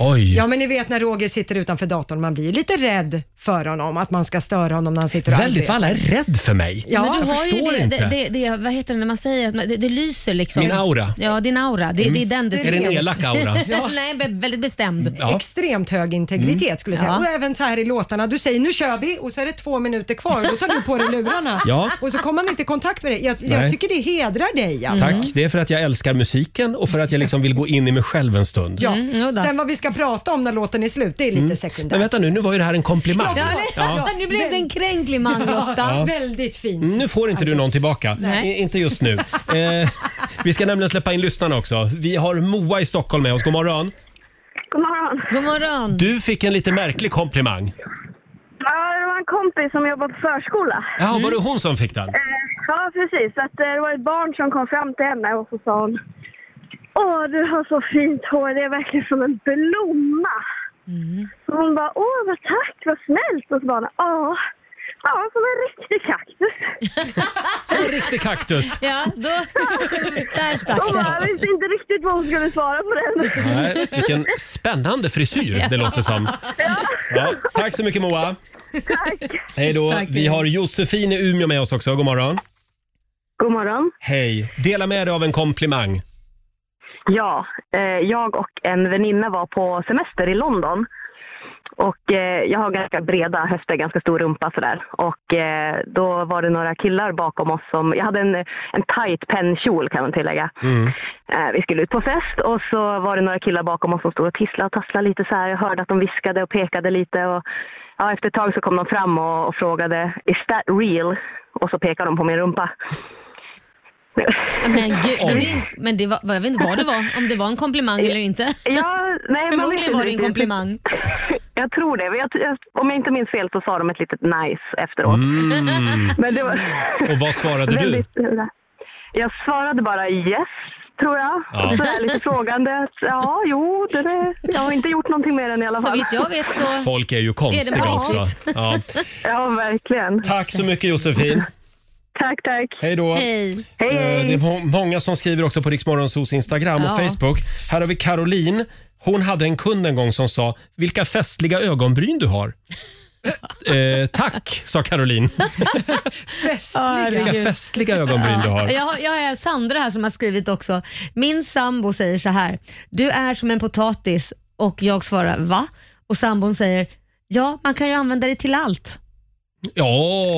Speaker 1: Oj.
Speaker 2: Ja, men ni vet när Roger sitter utanför datorn, man blir ju lite rädd för honom, att man ska störa honom när han sitter och
Speaker 1: Väldigt vad alla är rädd för mig.
Speaker 3: Ja, men du
Speaker 1: jag
Speaker 3: har ju
Speaker 1: förstår
Speaker 3: det,
Speaker 1: inte.
Speaker 3: Det, det, det, vad heter det när man säger att man, det, det lyser liksom.
Speaker 1: Min aura. Mm.
Speaker 3: Ja, din aura. Det, det är den
Speaker 1: Är det en
Speaker 3: disciplinen.
Speaker 1: elak aura?
Speaker 3: Nej, be- väldigt bestämd.
Speaker 2: Ja. Extremt hög integritet skulle jag säga.
Speaker 3: Ja.
Speaker 2: Och även så här i låtarna, du säger nu kör vi och så är det två minuter kvar och då tar du på dig lurarna.
Speaker 1: Ja.
Speaker 2: Och så kommer man inte i kontakt med dig. Jag, jag
Speaker 1: Nej.
Speaker 2: tycker det hedrar dig. alltså.
Speaker 1: Tack. Det är för att jag älskar musiken och för att jag liksom vill gå in i mig själv en stund.
Speaker 2: Ja. Sen vad vi ska prata om när låten är slut, det är lite sekundärt.
Speaker 1: Mm. Men vänta nu, nu var ju det här en komplimang.
Speaker 3: Ja, nu- Nu blev det en kränklig man Lotta.
Speaker 1: Ja. Mm.
Speaker 2: Väldigt fint.
Speaker 1: Nu får inte du någon tillbaka.
Speaker 3: Nej.
Speaker 1: I- Inte just nu. Eh, vi ska nämligen släppa in lyssnarna också. Vi har Moa i Stockholm med oss. God morgon.
Speaker 8: God morgon.
Speaker 3: God morgon.
Speaker 1: Du fick en lite märklig komplimang.
Speaker 8: Ja, det var en kompis som jobbar på förskola.
Speaker 1: Ja,
Speaker 3: Mm.
Speaker 1: var det hon som fick den?
Speaker 8: Eh, Ja, precis. Att eh, det var ett barn som kom fram till henne och så sa hon Åh, du har så fint hår. Det är verkligen som en blomma. Så hon bara, åh vad tack, vad snällt. Och så bara, ja, ja som en riktig kaktus.
Speaker 1: En riktig kaktus.
Speaker 3: Ja, då... Där
Speaker 8: Hon
Speaker 3: stack
Speaker 8: bara,
Speaker 3: det.
Speaker 8: jag visste inte riktigt vad hon skulle svara på den.
Speaker 1: Nej, vilken spännande frisyr det låter som. Ja, tack så mycket Moa. Hej då. Vi har Josefin i Umeå med oss också. God morgon.
Speaker 8: God morgon.
Speaker 1: Hej. Dela med dig av en komplimang.
Speaker 8: Ja, eh, jag och en väninna var på semester i London. Och eh, jag har ganska breda höfter, ganska stor rumpa sådär. Och eh, då var det några killar bakom oss som, jag hade en, en tight pennkjol kan man tillägga. Eh, vi skulle ut på fest och så var det några killar bakom oss som stod och tisslade och tasslade lite så här. Jag hörde att de viskade och pekade lite och ja, efter ett tag så kom de fram och, och frågade Is that real? Och så pekade de på min rumpa.
Speaker 3: Men gud, men det, men det var, jag vet inte vad det var, om det var en komplimang eller inte.
Speaker 8: Ja, nej, man vet
Speaker 3: Förmodligen
Speaker 8: inte
Speaker 3: var det en
Speaker 8: riktigt.
Speaker 3: komplimang.
Speaker 8: Jag tror det. Men Jag, jag, om jag inte minns fel så sa de ett litet nice efteråt. Men det var
Speaker 1: Mm. Och vad svarade du?
Speaker 8: väldigt... Jag svarade bara yes, tror jag.
Speaker 1: Ja.
Speaker 8: Och så där lite frågande. att, Ja, jo, det är, jag har inte gjort någonting med den i alla
Speaker 3: Så
Speaker 8: fall.
Speaker 3: vitt jag vet så...
Speaker 1: Folk är ju konstiga också. Ja.
Speaker 8: Ja, verkligen.
Speaker 1: Tack så mycket Josefin.
Speaker 8: Tack, tack.
Speaker 1: Hej då.
Speaker 3: Hej.
Speaker 8: Hej,
Speaker 1: Eh, Det är
Speaker 8: hej.
Speaker 1: må- många som skriver också på Riksmorgonsos Instagram och
Speaker 3: Ja.
Speaker 1: Facebook. Här har vi Caroline. Hon hade en kund en gång som sa “Vilka festliga ögonbryn du har”. eh, tack, sa Caroline. “Vilka
Speaker 3: Herregud.
Speaker 1: festliga ögonbryn du har”.
Speaker 3: Jag, har- jag är Sandra här som har skrivit också. Min sambo säger så här. Du är som en potatis och jag svarar va? Och sambon säger ja, man kan ju använda det till allt.
Speaker 1: Ja.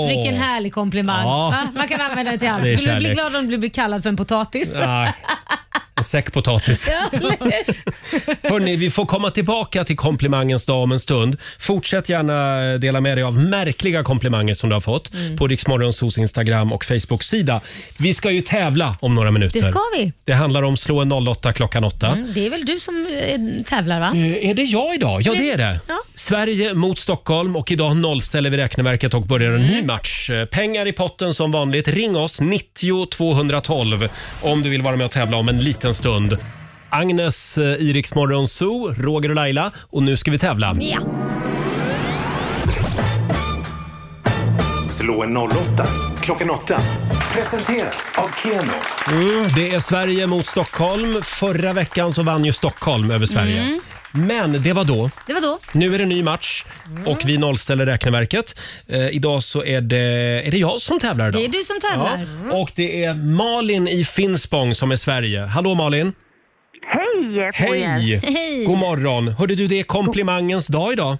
Speaker 3: Vilken härlig komplimang.
Speaker 1: Ja.
Speaker 3: Va? Man kan använda det till allt.
Speaker 1: Det är
Speaker 3: Skulle du bli
Speaker 1: kärlek.
Speaker 3: glad om du blev kallad för en potatis?
Speaker 1: Nej, en säck potatis. Hörrni, vi får komma tillbaka till komplimangens dag om en stund. Fortsätt gärna dela med dig av märkliga komplimanger som du har fått
Speaker 3: Mm.
Speaker 1: på Riksmorgonsos Instagram och Facebook-sida. Vi ska ju tävla om några minuter.
Speaker 3: Det ska vi.
Speaker 1: Det handlar om slå en 08 klockan 8.
Speaker 3: Mm, Det är väl du som eh, tävlar va?
Speaker 1: Eh, Är det jag idag? Ja, det är det.
Speaker 3: Ja.
Speaker 1: Sverige mot Stockholm och idag nollställer vi räkneverket och börjar en
Speaker 3: Mm.
Speaker 1: ny match. Eh, Pengar i potten som vanligt. Ring oss, 90 212 om du vill vara med och tävla om en liten stund. Agnes eh, i Rix Morgon Zoo, Roger och Laila och nu ska vi tävla.
Speaker 3: Ja.
Speaker 4: Slå en 08 klockan 8. Presenteras av Keno.
Speaker 1: Mm, det är Sverige mot Stockholm. Förra veckan så vann ju Stockholm över Sverige.
Speaker 3: Mm.
Speaker 1: Men det var då.
Speaker 3: Det var då.
Speaker 1: Nu är det ny match och
Speaker 3: Mm.
Speaker 1: vi nollställer räkneverket. Eh, idag så är det, är det jag som tävlar idag.
Speaker 3: Det är du som tävlar.
Speaker 1: Ja, och det är Malin i Finspång som är Sverige. Hallå Malin!
Speaker 8: Hej på er.
Speaker 1: Hej!
Speaker 3: Hej.
Speaker 1: God morgon! Hörde du, det är komplimangens dag idag.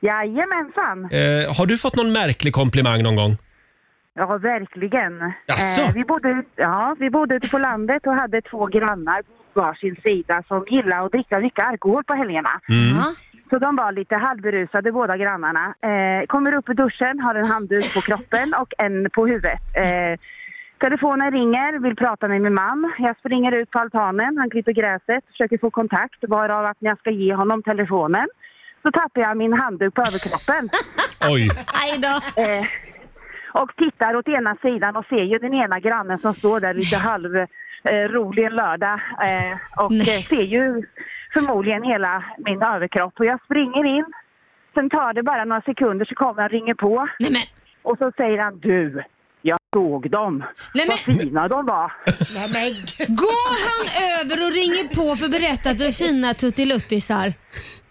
Speaker 8: Jajamensan.
Speaker 1: Eh, har du fått någon märklig komplimang någon gång?
Speaker 8: Ja, verkligen.
Speaker 1: Jaså?
Speaker 8: Eh, vi, bodde, ut- ja, vi bodde ute på landet och hade två grannar på varsin sida som gillade att dricka mycket alkohol på helgerna.
Speaker 1: Mm.
Speaker 3: Ja.
Speaker 8: Så de var lite halvberusade båda grannarna. Eh, kommer upp ur duschen, har en handduk på kroppen och en på huvudet. Eh, telefonen ringer, vill prata med min man. Jag springer ut på altanen, han klipper gräset, försöker få kontakt. Varav att när jag ska ge honom telefonen så tappar jag min handduk på överkroppen.
Speaker 1: Oj!
Speaker 3: Aj då.
Speaker 8: Eh, och tittar åt ena sidan och ser ju den ena grannen som står där lite halv eh, rolig en lördag eh, och
Speaker 3: Nej.
Speaker 8: eh, ser ju förmodligen hela min överkropp. Och jag springer in, sen tar det bara några sekunder så kommer han och ringer på
Speaker 3: Nej men,
Speaker 8: och så säger han du, jag såg dem.
Speaker 3: nej men.
Speaker 8: Vad fina de var.
Speaker 3: Går han över och ringer på för att berätta att du är fina tuttiluttisar?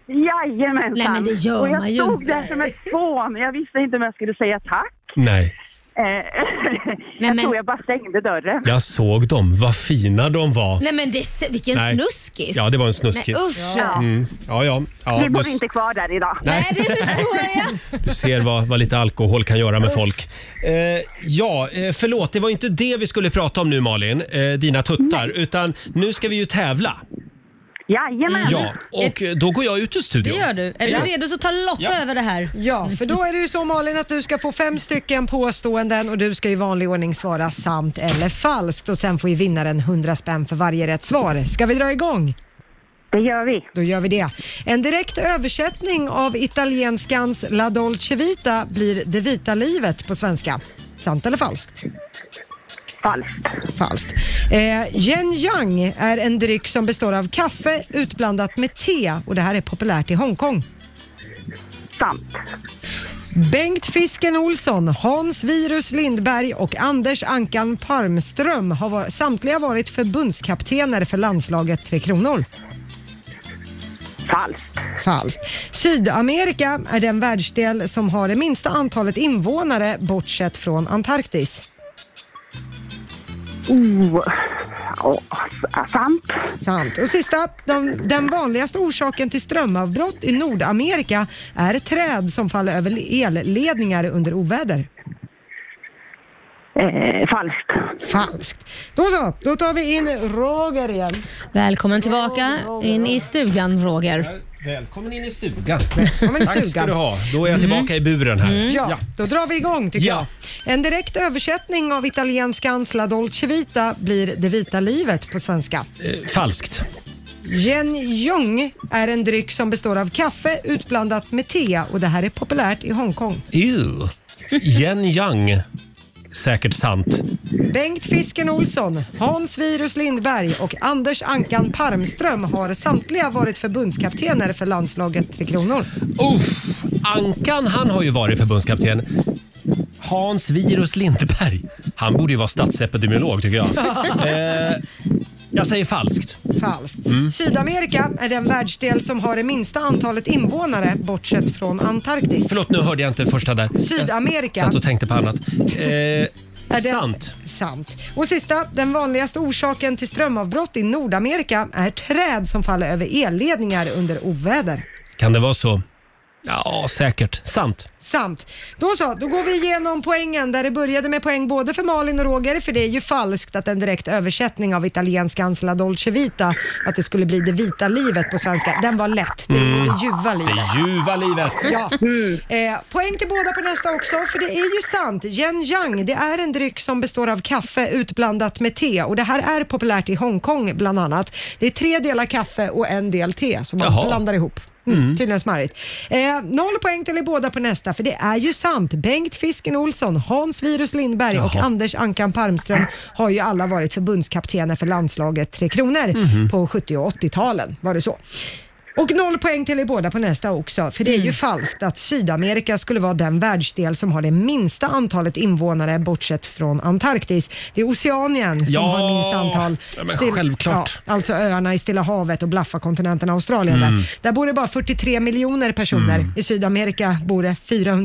Speaker 8: Jajamensan!
Speaker 3: Nej, men det gör
Speaker 8: och jag
Speaker 3: man ju
Speaker 8: stod
Speaker 3: inte.
Speaker 8: där som ett fån. Jag visste inte om jag skulle säga tack. Eh,
Speaker 1: Nej.
Speaker 8: jag tror jag bara stängde dörren.
Speaker 1: Jag såg dem, vad fina de var.
Speaker 3: Nej men det, vilken
Speaker 1: Nej.
Speaker 3: snuskis.
Speaker 1: Ja, det var en snuskis.
Speaker 3: Nej, usch.
Speaker 8: Ja.
Speaker 1: Mm. Ja, ja. ja
Speaker 8: Vi bor
Speaker 1: du-
Speaker 8: inte kvar där idag.
Speaker 1: Nej. Nej,
Speaker 3: det förstår jag.
Speaker 1: Du ser vad, vad lite alkohol kan göra med folk. Eh, ja, eh, förlåt, det var inte det vi skulle prata om nu Malin, eh, dina tuttar, utan nu ska vi ju tävla.
Speaker 8: Jajamän.
Speaker 1: Ja, och eh, då går jag ut ur
Speaker 3: Det
Speaker 1: studion.
Speaker 3: gör du. Är
Speaker 1: Ja.
Speaker 3: du redo så ta Lotta
Speaker 1: Ja.
Speaker 3: över det här.
Speaker 2: Ja, för då är det ju så Malin att du ska få fem stycken påståenden och du ska i vanlig ordning svara sant eller falskt och sen får ju vinnaren 100 spänn för varje rätt svar. Ska vi dra igång?
Speaker 8: Det gör vi.
Speaker 2: Då gör vi det. En direkt översättning av italienskans La Dolce Vita blir Det vita livet på svenska. Sant eller falskt?
Speaker 8: Falskt.
Speaker 2: Falskt. Eh, Yen Yang är en dryck som består av kaffe utblandat med te och det här är populärt i Hongkong.
Speaker 8: Sant.
Speaker 2: Bengt Fisken Olsson, Hans Virus Lindberg och Anders Ankan Parmström har var- samtliga varit förbundskaptener för landslaget Tre Kronor.
Speaker 8: Falskt.
Speaker 2: Falskt. Sydamerika är den världsdel som har det minsta antalet invånare bortsett från Antarktis.
Speaker 8: Oh. Oh. Sant.
Speaker 2: Sant. Och sista, den, den vanligaste orsaken till strömavbrott i Nordamerika är träd som faller över elledningar under oväder.
Speaker 8: Eh, falskt.
Speaker 2: Falskt. Då så, då tar vi in Roger igen.
Speaker 3: Välkommen tillbaka in i stugan Roger.
Speaker 1: Välkommen in i stugan.
Speaker 2: Välkommen i
Speaker 1: Tack ska
Speaker 2: stugan.
Speaker 1: du ha. Då är
Speaker 2: Mm.
Speaker 1: jag tillbaka i buren här.
Speaker 2: Ja,
Speaker 1: Mm. Ja.
Speaker 2: då drar vi igång tycker
Speaker 1: Ja.
Speaker 2: jag. En direkt översättning av italienskans La Dolce Vita blir Det vita livet på svenska.
Speaker 1: Eh, falskt.
Speaker 2: Yen Yong är en dryck som består av kaffe utblandat med te och det här är populärt i Hongkong.
Speaker 1: Ew. Yen Yang. Säkert sant.
Speaker 2: Bengt Fisken Olsson, Hans Virus Lindberg och Anders Ankan Parmström har samtliga varit förbundskaptener för landslaget Tre Kronor.
Speaker 1: Uff, Ankan han har ju varit förbundskapten. Hans Virus Lindberg. Han borde ju vara statsepidemiolog tycker jag. eh, jag säger falskt.
Speaker 2: Falskt.
Speaker 1: Mm.
Speaker 2: Sydamerika är den världsdel som har det minsta antalet invånare bortsett från Antarktis.
Speaker 1: Förlåt, nu hörde jag inte första där.
Speaker 2: Sydamerika.
Speaker 1: Jag satt och tänkte på annat. Eh,
Speaker 2: det-
Speaker 1: sant.
Speaker 2: Sant. Och sista, den vanligaste orsaken till strömavbrott i Nordamerika är träd som faller över elledningar under oväder.
Speaker 1: Kan det vara så? Ja, säkert. Sant.
Speaker 2: Sant. Då så, då går vi igenom poängen där det började med poäng både för Malin och Roger, för det är ju falskt att en direkt översättning av italienskans La Dolce Vita, att det skulle bli det vita livet på svenska, den var lätt. Det är ju det ljuva livet.
Speaker 1: Det ljuva livet.
Speaker 2: Ja. Eh, poäng till båda på nästa också, för det är ju sant. Yen Yang, det är en dryck som består av kaffe utblandat med te och det här är populärt i Hongkong bland annat. Det är tre delar kaffe och en del te som man
Speaker 1: Jaha.
Speaker 2: blandar ihop. Mm, Tydligen smarrigt. Eh, noll poäng till er båda på nästa, för det är ju sant. Bengt Fisken Olsson, Hans Virus Lindberg och
Speaker 1: Jaha.
Speaker 2: Anders Ankan Parmström har ju alla varit förbundskaptener för landslaget Tre Kronor
Speaker 1: Mhm.
Speaker 2: på 70 och 80-talen. Var det så? Och noll poäng till er båda på nästa också, för det
Speaker 1: Mm.
Speaker 2: är ju falskt att Sydamerika skulle vara den världsdel som har det minsta antalet invånare bortsett från Antarktis. Det är Oceanien som
Speaker 1: Ja,
Speaker 2: har minst antal.
Speaker 1: ja, men självklart.
Speaker 2: Ja, alltså öarna i Stilla havet och Blaffakontinenten Australien. Där. där bor det bara 43 miljoner personer. I Sydamerika bor det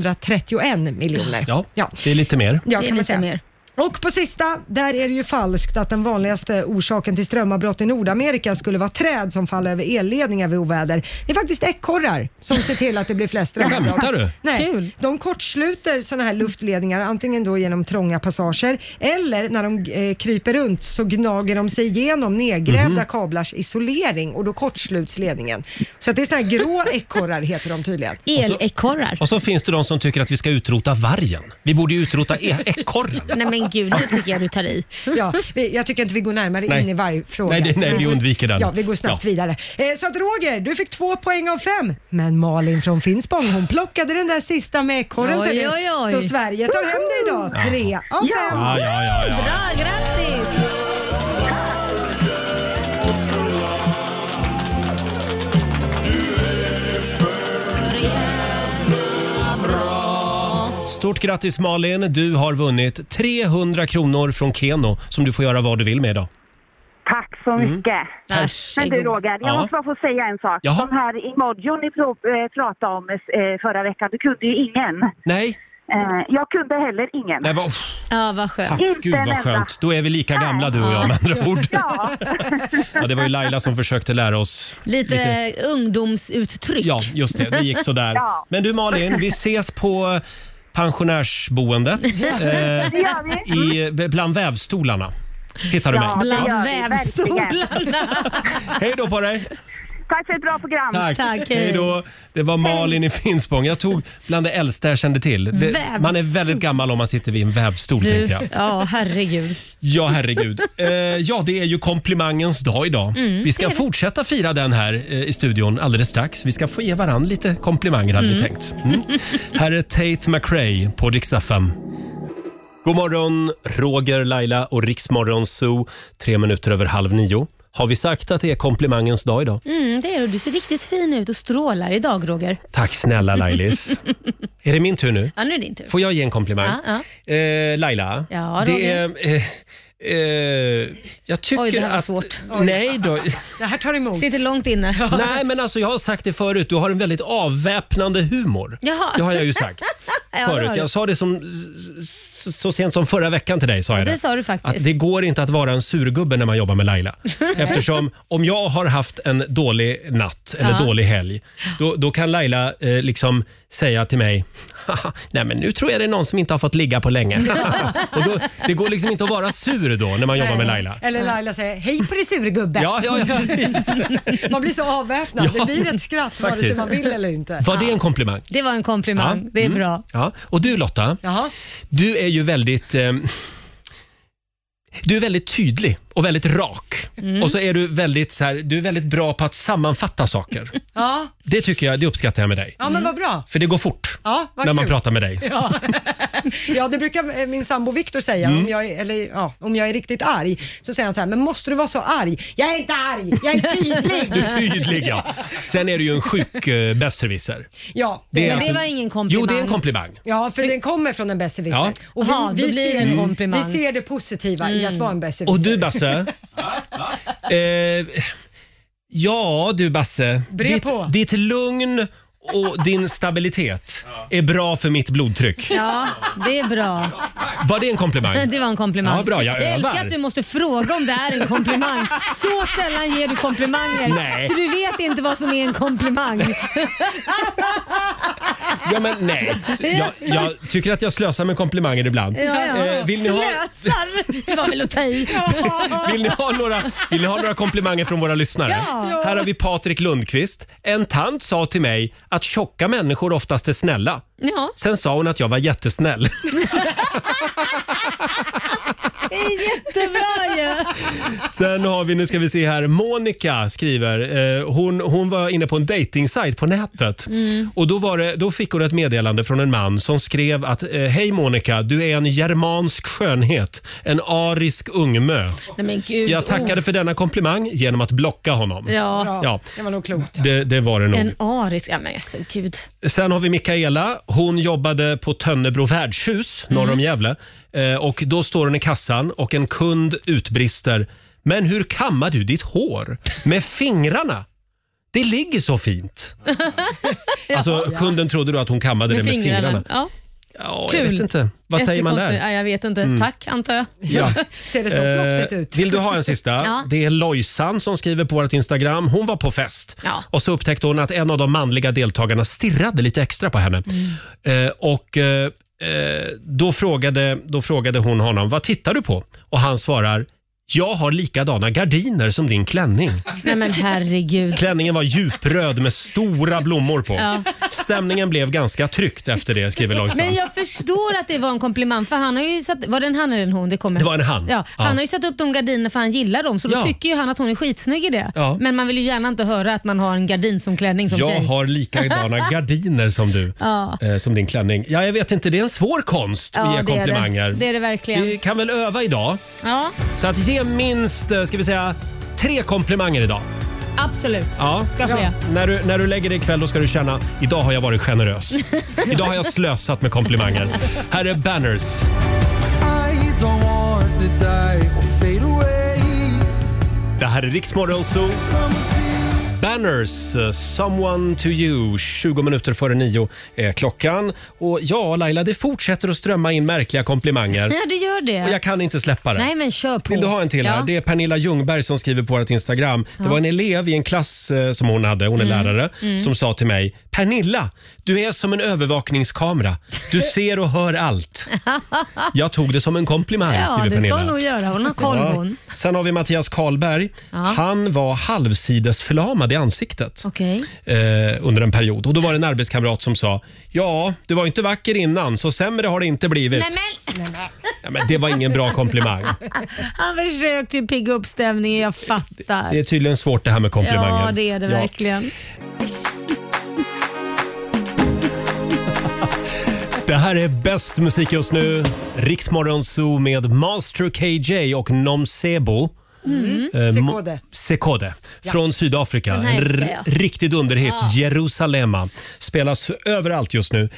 Speaker 2: 431 miljoner.
Speaker 1: Ja,
Speaker 2: ja.
Speaker 1: det är lite mer.
Speaker 2: Ja,
Speaker 3: Det är
Speaker 2: kan man
Speaker 3: lite
Speaker 2: säga.
Speaker 3: mer.
Speaker 2: Och på sista, där är det ju falskt att den vanligaste orsaken till strömavbrott i Nordamerika skulle vara träd som faller över elledningar vid oväder. Det är faktiskt ekorrar som ser till att det blir flest strömavbrott.
Speaker 1: Skämtar du?
Speaker 2: Nej,
Speaker 3: Kul.
Speaker 2: de kortsluter sådana här luftledningar, antingen då genom trånga passager eller när de eh, kryper runt så gnager de sig
Speaker 1: Mhm.
Speaker 2: igenom nedgrävda kablars isolering och då kortsluts ledningen. Så att det är sådana här grå ekorrar heter de tydligen.
Speaker 3: Elekorrar.
Speaker 1: Och så finns det de som tycker att vi ska utrota vargen. Vi borde ju utrota e- ekorren.
Speaker 3: Nej men gud, nu tycker jag du tar i.
Speaker 2: Ja, vi, jag tycker inte vi går närmare
Speaker 1: Nej.
Speaker 2: in i varje fråga.
Speaker 1: Nej, det- nej, vi
Speaker 2: går-
Speaker 1: undviker den.
Speaker 2: Ja, vi går snabbt
Speaker 1: Ja.
Speaker 2: vidare. Eh, så att Roger, du fick två poäng av fem. Men Malin från Finspång, hon plockade den där sista med ekorren. ser
Speaker 3: Oj,
Speaker 2: du.
Speaker 3: oj, oj.
Speaker 2: Så Sverige tar hem det idag. Tre av fem.
Speaker 1: Ja, ja, ja, ja.
Speaker 3: Bra, grattis!
Speaker 1: Stort grattis Malin, du har vunnit 300 kronor från Keno som du får göra vad du vill med idag.
Speaker 8: Tack så mycket. Men du
Speaker 3: Varsågod.
Speaker 8: Roger, jag
Speaker 1: Ja.
Speaker 8: måste bara få säga en sak.
Speaker 1: Jaha.
Speaker 8: De här emojin ni pro- eh, pratade om eh, förra veckan, det kunde ju ingen.
Speaker 1: Nej,
Speaker 8: Eh, jag kunde heller ingen.
Speaker 1: Nej, vad,
Speaker 3: Ja, vad skönt.
Speaker 1: tack gud vad skönt. Då är vi lika gamla du och jag med andra ord.
Speaker 8: Ja.
Speaker 1: Ja, det var ju Laila som försökte lära oss.
Speaker 3: Lite, ungdomsuttryck.
Speaker 1: Ja, just det. Det gick sådär.
Speaker 3: Ja.
Speaker 1: Men du Malin, vi ses på pensionärsboendet. eh,
Speaker 8: Det gör vi.
Speaker 1: i, bland vävstolarna. Hittar du
Speaker 8: Ja,
Speaker 1: mig?
Speaker 8: det
Speaker 3: Bland
Speaker 8: gör vi,
Speaker 3: vävstolarna.
Speaker 1: Hej då på dig!
Speaker 8: Tack för ett bra program.
Speaker 1: Tack.
Speaker 3: Tack, hej.
Speaker 1: hej då. Det var Malin i Finspång. Jag tog bland det äldsta jag kände till. Det,
Speaker 3: Vävstol.
Speaker 1: man är väldigt gammal om man sitter vid en vävstol
Speaker 3: Du,
Speaker 1: tänkte jag.
Speaker 3: ja, herregud.
Speaker 1: Ja, herregud. Eh, ja, det är ju komplimangens dag idag.
Speaker 3: Mm,
Speaker 1: vi ska fortsätta fira den här eh, i studion alldeles strax. Vi ska få ge varandra lite komplimanger hade vi tänkt. Mm. här är Tate McRae på Rix FM. God morgon, Roger, Laila och Riksmorgon Zoo. Tre minuter över halv nio. Har vi sagt att det är komplimangens dag idag?
Speaker 3: Mm, det är du. Du ser riktigt fin ut och strålar idag, Roger.
Speaker 1: Tack snälla Lailis. är det min tur nu?
Speaker 3: Ja, nu är det din tur.
Speaker 1: Får jag ge en komplimang?
Speaker 3: Ja,
Speaker 1: Eh, Laila,
Speaker 3: Ja,
Speaker 1: det
Speaker 3: Roger.
Speaker 1: är... Eh, eh, jag tycker
Speaker 3: Oj, det här var
Speaker 1: att...
Speaker 3: svårt.
Speaker 1: Nej då.
Speaker 2: Det här tar emot.
Speaker 3: Sitter långt inne.
Speaker 1: Nej, men alltså jag har sagt det förut. Du har en väldigt avväpnande humor.
Speaker 3: Jaha.
Speaker 1: Det har jag ju sagt
Speaker 3: det har
Speaker 1: förut.
Speaker 3: du.
Speaker 1: Jag sa det som, s- s- så sent som förra veckan till dig. Sa jag
Speaker 3: det sa du faktiskt.
Speaker 1: Att det går inte att vara en surgubbe när man jobbar med Laila. Eftersom om jag har haft en dålig natt eller
Speaker 3: Ja.
Speaker 1: dålig helg, då, då kan Laila eh, liksom säga till mig "Haha, Nej men nu tror jag det är någon som inte har fått ligga på länge. Och då, det går liksom inte att vara sur då när man jobbar med Laila.
Speaker 2: Eller Laila säger hej på dig surgubbe.
Speaker 1: Ja, ja, ja precis.
Speaker 2: Man blir så avväpnad.
Speaker 1: Ja,
Speaker 2: det blir ett skratt vare sig
Speaker 1: faktiskt.
Speaker 2: man vill eller inte.
Speaker 1: Var det en komplimang?
Speaker 3: Det var en komplimang.
Speaker 1: Ja.
Speaker 3: Det är
Speaker 1: Mm.
Speaker 3: bra.
Speaker 1: Ja. Och du Lotta,
Speaker 2: Jaha.
Speaker 1: du är ju väldigt eh, du är väldigt tydlig och väldigt rak. Och så är du väldigt, så här, du är väldigt bra på att sammanfatta saker.
Speaker 2: Ja.
Speaker 1: Det tycker jag, det uppskattar jag med dig.
Speaker 2: ja, men vad bra.
Speaker 1: För det går fort
Speaker 2: Ja, vad
Speaker 1: när man
Speaker 2: kul.
Speaker 1: pratar med dig.
Speaker 2: Ja. ja, det brukar eh, min sambo Viktor säga
Speaker 1: Mm.
Speaker 2: om, jag är, eller, ja, om jag är riktigt arg. Så säger han så här, men måste du vara så arg? Jag är inte arg, jag är tydlig.
Speaker 1: Du är tydlig ja. Sen är du ju en sjuk eh, besserwisser.
Speaker 2: Ja, eh,
Speaker 1: Det är
Speaker 3: Men det
Speaker 1: alltså-
Speaker 3: var ingen komplimang.
Speaker 1: Jo, det är en komplimang.
Speaker 2: ja för den kommer från en besserwisser.
Speaker 1: Ja.
Speaker 2: Och vi,
Speaker 3: Ja, då
Speaker 2: vi,
Speaker 3: blir det en
Speaker 2: ser,
Speaker 3: komplimang. Mm.
Speaker 2: vi ser det positiva i att vara en besserwisser.
Speaker 1: Och du Basse. eh, ja du Basse.
Speaker 2: Brev
Speaker 1: Ditt,
Speaker 2: på.
Speaker 1: ditt lugn och din stabilitet är bra för mitt blodtryck.
Speaker 3: Ja, det är bra.
Speaker 1: Var det en komplimang?
Speaker 3: Det var en komplimang.
Speaker 1: Ja, bra, jag övar.
Speaker 3: älskar att du måste fråga om det är en komplimang. Så sällan ger du komplimanger,
Speaker 1: Nej.
Speaker 3: så du vet inte vad som är en komplimang.
Speaker 1: Ja, men nej. Jag, jag tycker att jag slösar med komplimanger ibland.
Speaker 3: Ja, ja.
Speaker 1: Eh, vill, ni ha,
Speaker 3: Slösar! Det var väl att ta i.
Speaker 1: vill, ni ha några, vill ni ha några komplimanger från våra lyssnare?
Speaker 3: Ja.
Speaker 1: Här har vi Patrik Lundqvist. En tant sa till mig att tjocka människor oftast är snälla.
Speaker 3: Ja,
Speaker 1: Sen sa hon att jag var jättesnäll.
Speaker 3: det är jättebra ju.
Speaker 1: Sen har vi, nu ska vi se här, Monica skriver. Eh, hon, hon var inne på en dejtingsajt på nätet.
Speaker 3: Mm.
Speaker 1: Och då, var det, då fick hon ett meddelande från en man som skrev att eh, Hej Monica, du är en germansk skönhet. En arisk ungmö.
Speaker 3: Nej men gud.
Speaker 1: Jag tackade för denna komplimang genom att blocka honom.
Speaker 3: Oh. Ja.
Speaker 2: Ja,
Speaker 1: Ja.
Speaker 2: det var nog klokt.
Speaker 1: Det, det var det nog.
Speaker 3: En arisk. Ja men alltså gud.
Speaker 1: Sen har vi Mikaela. Hon jobbade på Tönnebro värdshus norr om Gävle. Eh, och då står hon i kassan och en kund utbrister. Men hur kammar du ditt hår? Med fingrarna? Det ligger så fint. Alltså, kunden trodde då att hon kammade det med fingrarna.
Speaker 3: Ja.
Speaker 1: Ja, jag
Speaker 3: Kul.
Speaker 1: vet inte. Vad säger man
Speaker 3: Jättekonstigt.
Speaker 1: där? Mm.
Speaker 3: Ja, jag vet inte. Tack antar jag.
Speaker 1: Ja.
Speaker 2: Ser det så
Speaker 1: Eh,
Speaker 2: flottigt ut?
Speaker 1: Vill du ha en sista?
Speaker 3: Ja.
Speaker 1: Det är Lojsan som skriver på vårt Instagram. Hon var på fest
Speaker 3: Ja.
Speaker 1: och så upptäckte hon att en av de manliga deltagarna stirrade lite extra på henne.
Speaker 3: Mm.
Speaker 1: Eh, och eh, eh, då, frågade, då frågade hon honom, vad tittar du på? Och han svarar, jag har likadana gardiner som din klänning.
Speaker 3: Nej men herregud.
Speaker 1: Klänningen var djupröd med stora blommor på.
Speaker 3: Ja.
Speaker 1: Stämningen blev ganska tryckt efter det, skriver Lojsan.
Speaker 3: Men jag förstår att det var en komplimang för han har ju satt, var det en han eller en hon? Det, kommer.
Speaker 1: Det var en han.
Speaker 3: Ja, han
Speaker 1: Ja.
Speaker 3: har ju satt upp de gardinerna för han gillar dem så då
Speaker 1: Ja.
Speaker 3: tycker ju han att hon är skitsnygg i det.
Speaker 1: Ja.
Speaker 3: Men man vill ju gärna inte höra att man har en gardin som klänning som
Speaker 1: jag
Speaker 3: tjej.
Speaker 1: har likadana gardiner som du,
Speaker 3: Ja.
Speaker 1: eh, som din klänning. Ja, jag vet inte, det är en svår konst att ge
Speaker 3: det är
Speaker 1: komplimanger.
Speaker 3: det. Det är det verkligen.
Speaker 1: Vi kan väl öva idag.
Speaker 3: Ja,
Speaker 1: Så att ge minst, eh, ska vi säga, tre komplimanger idag.
Speaker 3: absolut.
Speaker 1: Ja.
Speaker 3: Ska ske.
Speaker 1: När, du, när du lägger dig ikväll då ska du känna, idag har jag varit generös. idag har jag slösat med komplimanger. Här är Banners.
Speaker 9: I don't want to die or fade away.
Speaker 1: Det här är Riksmorgon Zoo. Banners, eh, Someone to you. 20 minuter före nio är klockan. Och ja, Laila, det fortsätter att strömma in märkliga komplimanger.
Speaker 3: Ja, det gör det.
Speaker 1: Och jag kan inte släppa det.
Speaker 3: Nej, men kör på.
Speaker 1: Vill du ha en till?
Speaker 3: ja.
Speaker 1: Här? Det är Pernilla Ljungberg som skriver på vårt Instagram. Det
Speaker 3: Ja.
Speaker 1: var en elev i en klass eh, som hon hade, hon är
Speaker 3: Mm.
Speaker 1: lärare,
Speaker 3: Mm.
Speaker 1: som sa till mig “Pernilla, du är som en övervakningskamera. Du ser och hör allt.” Jag tog det som en komplimang,
Speaker 3: Ja,
Speaker 1: skriver
Speaker 3: det ska
Speaker 1: Pernilla.
Speaker 3: hon nog göra. Hon har koll
Speaker 1: Ja.
Speaker 3: hon.
Speaker 1: Sen har vi Mattias Karlberg.
Speaker 3: Ja.
Speaker 1: Han var halvsidesförlamad i ansiktet
Speaker 3: Okej.
Speaker 1: eh, under en period. Och Då var det en arbetskamrat som sa “Ja, du var inte vacker innan, så sämre har det inte blivit.” Ja, men det var ingen bra komplimang.
Speaker 3: Han försökte ju pigga upp stämningen, jag fattar.
Speaker 1: Det är tydligen svårt det här med komplimanger.
Speaker 3: Ja, det är det
Speaker 1: Ja.
Speaker 3: verkligen.
Speaker 1: Det här är bäst musik just nu. Riksmorgon Zoo med Master KJ och Nomsebo.
Speaker 2: Mm.
Speaker 1: Eh, Mo-
Speaker 2: Sekode.
Speaker 1: Sekode
Speaker 2: Ja.
Speaker 1: från Sydafrika.
Speaker 2: Den här
Speaker 1: En
Speaker 2: älskar
Speaker 1: r-
Speaker 2: jag.
Speaker 1: riktig dunderhit.
Speaker 2: Ja.
Speaker 1: Jerusalema. Spelas överallt just nu.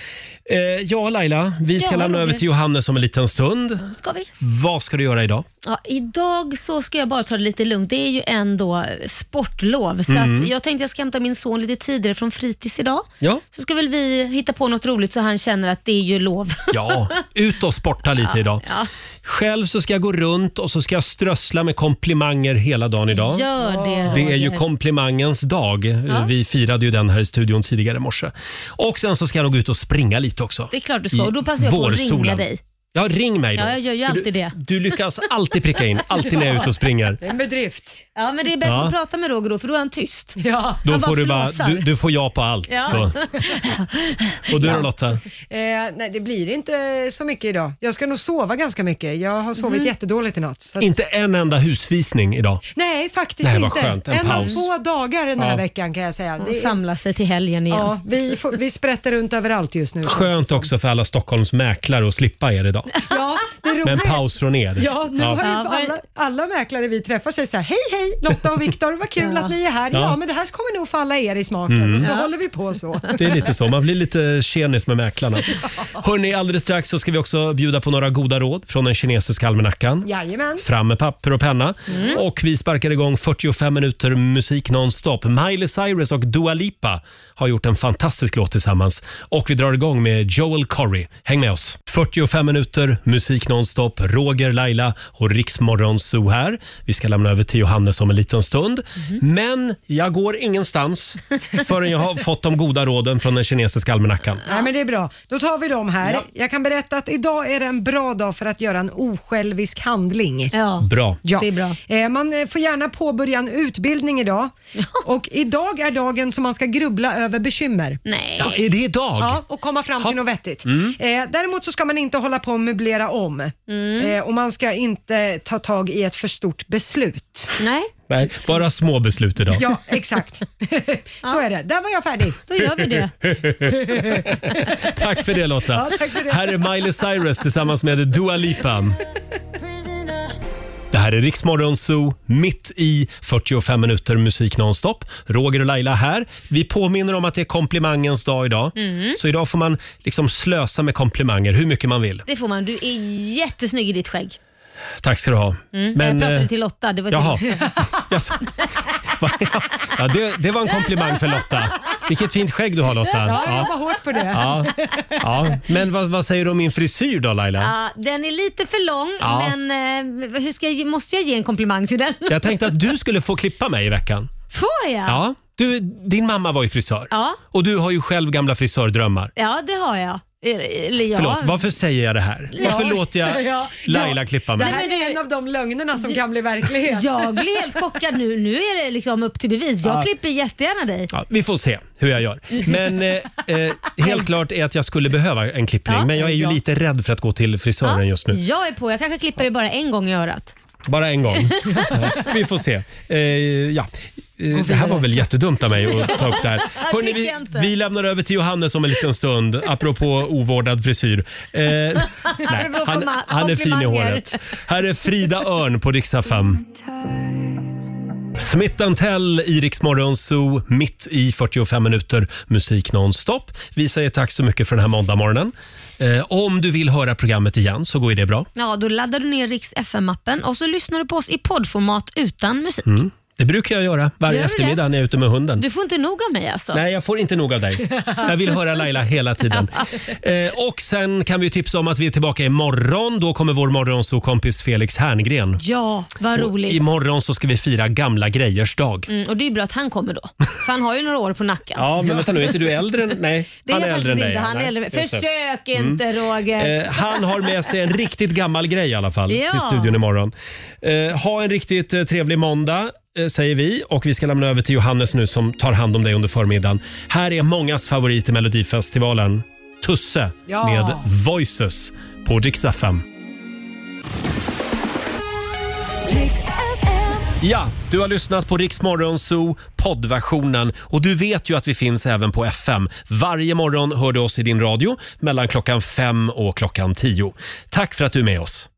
Speaker 1: Eh, ja, Laila, vi ska
Speaker 3: Ja,
Speaker 1: lämna
Speaker 3: Roger.
Speaker 1: över till Johannes om en liten stund.
Speaker 3: Ska vi?
Speaker 1: Vad ska du göra idag?
Speaker 3: Ja, idag så ska jag bara ta det lite lugnt. Det är ju ändå sportlov, så
Speaker 1: Mm.
Speaker 3: att jag tänkte jag ska hämta min son lite tidigare från fritids idag.
Speaker 1: Ja,
Speaker 3: Så ska väl vi hitta på något roligt så han känner att det är ju lov.
Speaker 1: ja ut och sporta lite
Speaker 3: Ja,
Speaker 1: idag.
Speaker 3: Ja.
Speaker 1: Själv så ska jag gå runt och så ska jag strössla med komplimanger hela dagen idag.
Speaker 3: Gör det,
Speaker 1: Det är ju
Speaker 3: Roger.
Speaker 1: komplimangens dag. Vi firade ju den här i studion tidigare i morse. Och sen så ska jag nog ut och springa lite också.
Speaker 3: Det är klart du ska. Och då passar jag på att
Speaker 1: Vårsolen.
Speaker 3: ringa dig.
Speaker 1: Ja, ring mig då.
Speaker 3: Ja, jag gör ju
Speaker 1: För
Speaker 3: alltid
Speaker 1: du,
Speaker 3: det.
Speaker 1: Du lyckas alltid pricka in, alltid när jag är ute och springer.
Speaker 2: Det är en bedrift.
Speaker 3: Ja, men det är bäst
Speaker 1: Ja.
Speaker 3: att prata med Roger då, för då är han tyst.
Speaker 2: Ja.
Speaker 1: Då
Speaker 3: han
Speaker 1: får du, bara,
Speaker 3: flåsar.
Speaker 1: du, du får ja på allt.
Speaker 3: Ja.
Speaker 1: Då. Och du då
Speaker 2: Ja.
Speaker 1: Lotta?
Speaker 2: Eh, nej, det blir inte så mycket idag. Jag ska nog sova ganska mycket. Jag har sovit
Speaker 1: Mhm.
Speaker 2: jättedåligt i natt. så att-
Speaker 1: Inte en enda husvisning idag.
Speaker 2: Nej, faktiskt
Speaker 1: Nej, vad
Speaker 2: inte.
Speaker 1: skönt. En
Speaker 2: av
Speaker 1: paus.
Speaker 2: få dagar den här
Speaker 1: Ja.
Speaker 2: veckan kan jag säga.
Speaker 3: Han samlar sig till helgen igen.
Speaker 2: Ja, vi, får, vi sprätter runt överallt just nu.
Speaker 1: Skönt också för alla Stockholms mäklare att slippa er idag.
Speaker 2: Ja, det roliga
Speaker 1: Med en
Speaker 2: är-
Speaker 1: paus från er.
Speaker 2: Ja, nu har ju alla, alla mäklare vi träffar säger så här, hej hej Lotta och Viktor, vad kul att ni är här. Ja.
Speaker 1: Ja.
Speaker 2: men det här kommer nog falla er i smaken.
Speaker 1: Mm.
Speaker 2: Och så
Speaker 1: Ja.
Speaker 2: håller vi på så.
Speaker 1: Det är lite så. Man blir lite tjenis med mäklarna. Hörni, alldeles strax så ska vi också bjuda på några goda råd från den kinesiska almanackan.
Speaker 2: Jajamän.
Speaker 1: Fram med papper och penna.
Speaker 2: Mm.
Speaker 1: Och vi sparkar igång 45 minuter musik nonstop. Miley Cyrus och Dua Lipa har gjort en fantastisk låt tillsammans. Och vi drar igång med Joel Corry. Häng med oss. 45 minuter musik nonstop. Roger, Laila och Riksmorgon Zoo här. Vi ska lämna över till Johannes om en liten stund.
Speaker 2: Mhm.
Speaker 1: Men jag går ingenstans förrän jag har fått de goda råden från den kinesiska almanackan.
Speaker 2: Nej, men det är bra. Då tar vi dem här.
Speaker 1: Ja.
Speaker 2: Jag kan berätta att idag är det en bra dag för att göra en osjälvisk handling.
Speaker 3: Ja,
Speaker 1: Bra.
Speaker 2: Ja.
Speaker 1: Det är
Speaker 3: bra.
Speaker 2: Eh, Man eh, får gärna påbörja en utbildning idag. Och idag är dagen som man ska grubbla över bekymmer.
Speaker 3: Nej.
Speaker 1: Ja, är det idag?
Speaker 2: Ja, och komma fram till något vettigt.
Speaker 1: Mm.
Speaker 2: Eh, däremot så ska man inte hålla på och möblera om. Eh, och man ska inte ta tag i ett för stort beslut.
Speaker 3: Nej.
Speaker 1: Nej, bara små beslut idag.
Speaker 2: Ja, exakt. så är det. Där var jag färdig.
Speaker 3: Då
Speaker 1: tack för det Lotta.
Speaker 2: Ja, tack för det.
Speaker 1: Här är Miley Cyrus tillsammans med Dua Lipa. Det här är Riksmorgon Zoo, mitt i 45 minuter musik nonstop. Roger och Laila här. Vi påminner om att det är komplimangens dag idag.
Speaker 3: Mm.
Speaker 1: Så idag får man liksom slösa med komplimanger hur mycket man vill.
Speaker 3: Det får man. Du är jättesnygg i ditt skägg.
Speaker 1: Tack ska du ha.
Speaker 3: Mm. Men, jag
Speaker 1: eh,
Speaker 3: pratade till Lotta. Det var
Speaker 1: Jaha.
Speaker 3: till...
Speaker 1: Jag sa- Va? ja, det, det var en komplimang för Lotta. Vilket fint skägg du har Lotta.
Speaker 3: Ja,
Speaker 2: jag jobbar hårt på det.
Speaker 1: Ja. Ja. Men vad, vad säger du om min frisyr då Laila?
Speaker 3: Ja, den är lite för lång,
Speaker 1: Ja.
Speaker 3: men eh, hur ska jag, måste jag ge en komplimang till den?
Speaker 1: Jag tänkte att du skulle få klippa mig i veckan.
Speaker 3: Får jag?
Speaker 1: Ja. Du, din mamma var ju frisör.
Speaker 3: Ja.
Speaker 1: Och du har ju själv gamla frisördrömmar.
Speaker 3: Ja, det har jag. Eller ja.
Speaker 1: Förlåt, varför säger jag det här? Varför låter jag
Speaker 3: Ja.
Speaker 1: Laila klippa
Speaker 2: Det
Speaker 1: mig?
Speaker 2: här är en av de lögnerna som kan bli verklighet.
Speaker 3: Jag blir helt chockad nu. Nu är det liksom upp till bevis. Jag
Speaker 1: Ja.
Speaker 3: klipper jättegärna dig.
Speaker 1: Ja, vi får se hur jag gör. Men eh, eh, helt klart är att jag skulle behöva en klippning.
Speaker 3: Ja,
Speaker 1: men jag är ju
Speaker 3: ja.
Speaker 1: lite rädd för att gå till frisören
Speaker 3: Ja,
Speaker 1: just nu.
Speaker 3: Jag är på. Jag kanske klipper dig bara en gång i örat.
Speaker 1: Bara en gång. Ja, vi får se. Eh, ja. Eh, Det här var väl jättedumt av mig att ta upp det här. Hörrni, vi,
Speaker 3: Tycker jag inte.
Speaker 1: vi lämnar över till Johannes om en liten stund, apropå ovårdad frisyr. Eh, nej,
Speaker 3: Apropå
Speaker 1: han,
Speaker 3: ma-
Speaker 1: han är fin i
Speaker 3: komplimanger.
Speaker 1: håret. Här är Frida Örn på riksdag 5. Smith Tell i Rix Morgon Zoo, mitt i 45 minuter musik nonstop. Vi säger tack så mycket för den här måndagmorgonen. Eh, om du vill höra programmet igen så går ju det bra.
Speaker 3: Ja, då laddar du ner Riks FM-appen och så lyssnar du på oss i poddformat utan musik.
Speaker 1: Mm. Det brukar jag göra varje
Speaker 3: Gör du
Speaker 1: eftermiddag när jag är ute med hunden.
Speaker 3: Du får inte nog av mig alltså?
Speaker 1: Nej, jag får inte nog av dig. Jag vill höra Laila hela tiden. Eh, och sen kan vi tipsa om att vi är tillbaka imorgon. Då kommer vår morgonsokompis Felix Herngren.
Speaker 3: Ja, vad roligt.
Speaker 1: Och imorgon så ska vi fira gamla grejers dag.
Speaker 3: Mm, och det är ju bra att han kommer då. För han har ju några år på nacken.
Speaker 1: Ja, men vänta nu, är inte du äldre? än- Nej,
Speaker 3: Det är
Speaker 1: han
Speaker 3: han
Speaker 1: är äldre än
Speaker 3: faktiskt
Speaker 1: dig.
Speaker 3: inte. Han är
Speaker 1: Nej,
Speaker 3: äldre.
Speaker 1: just det.
Speaker 3: Försök
Speaker 1: Mm.
Speaker 3: inte Roger.
Speaker 1: Eh, han har med sig en riktigt gammal grej i alla fall
Speaker 3: Ja.
Speaker 1: till studion imorgon. Eh, ha en riktigt eh, trevlig måndag eh, säger vi och vi ska lämna över till Johannes nu som tar hand om dig under förmiddagen. Här är mångas favorit i Melodifestivalen, Tusse
Speaker 11: Ja.
Speaker 1: med Voices på Dix FM. Ja, du har lyssnat på Rix Morgon Zoo poddversionen och du vet ju att vi finns även på FM. Varje morgon hör du oss i din radio mellan klockan fem och klockan tio. Tack för att du är med oss.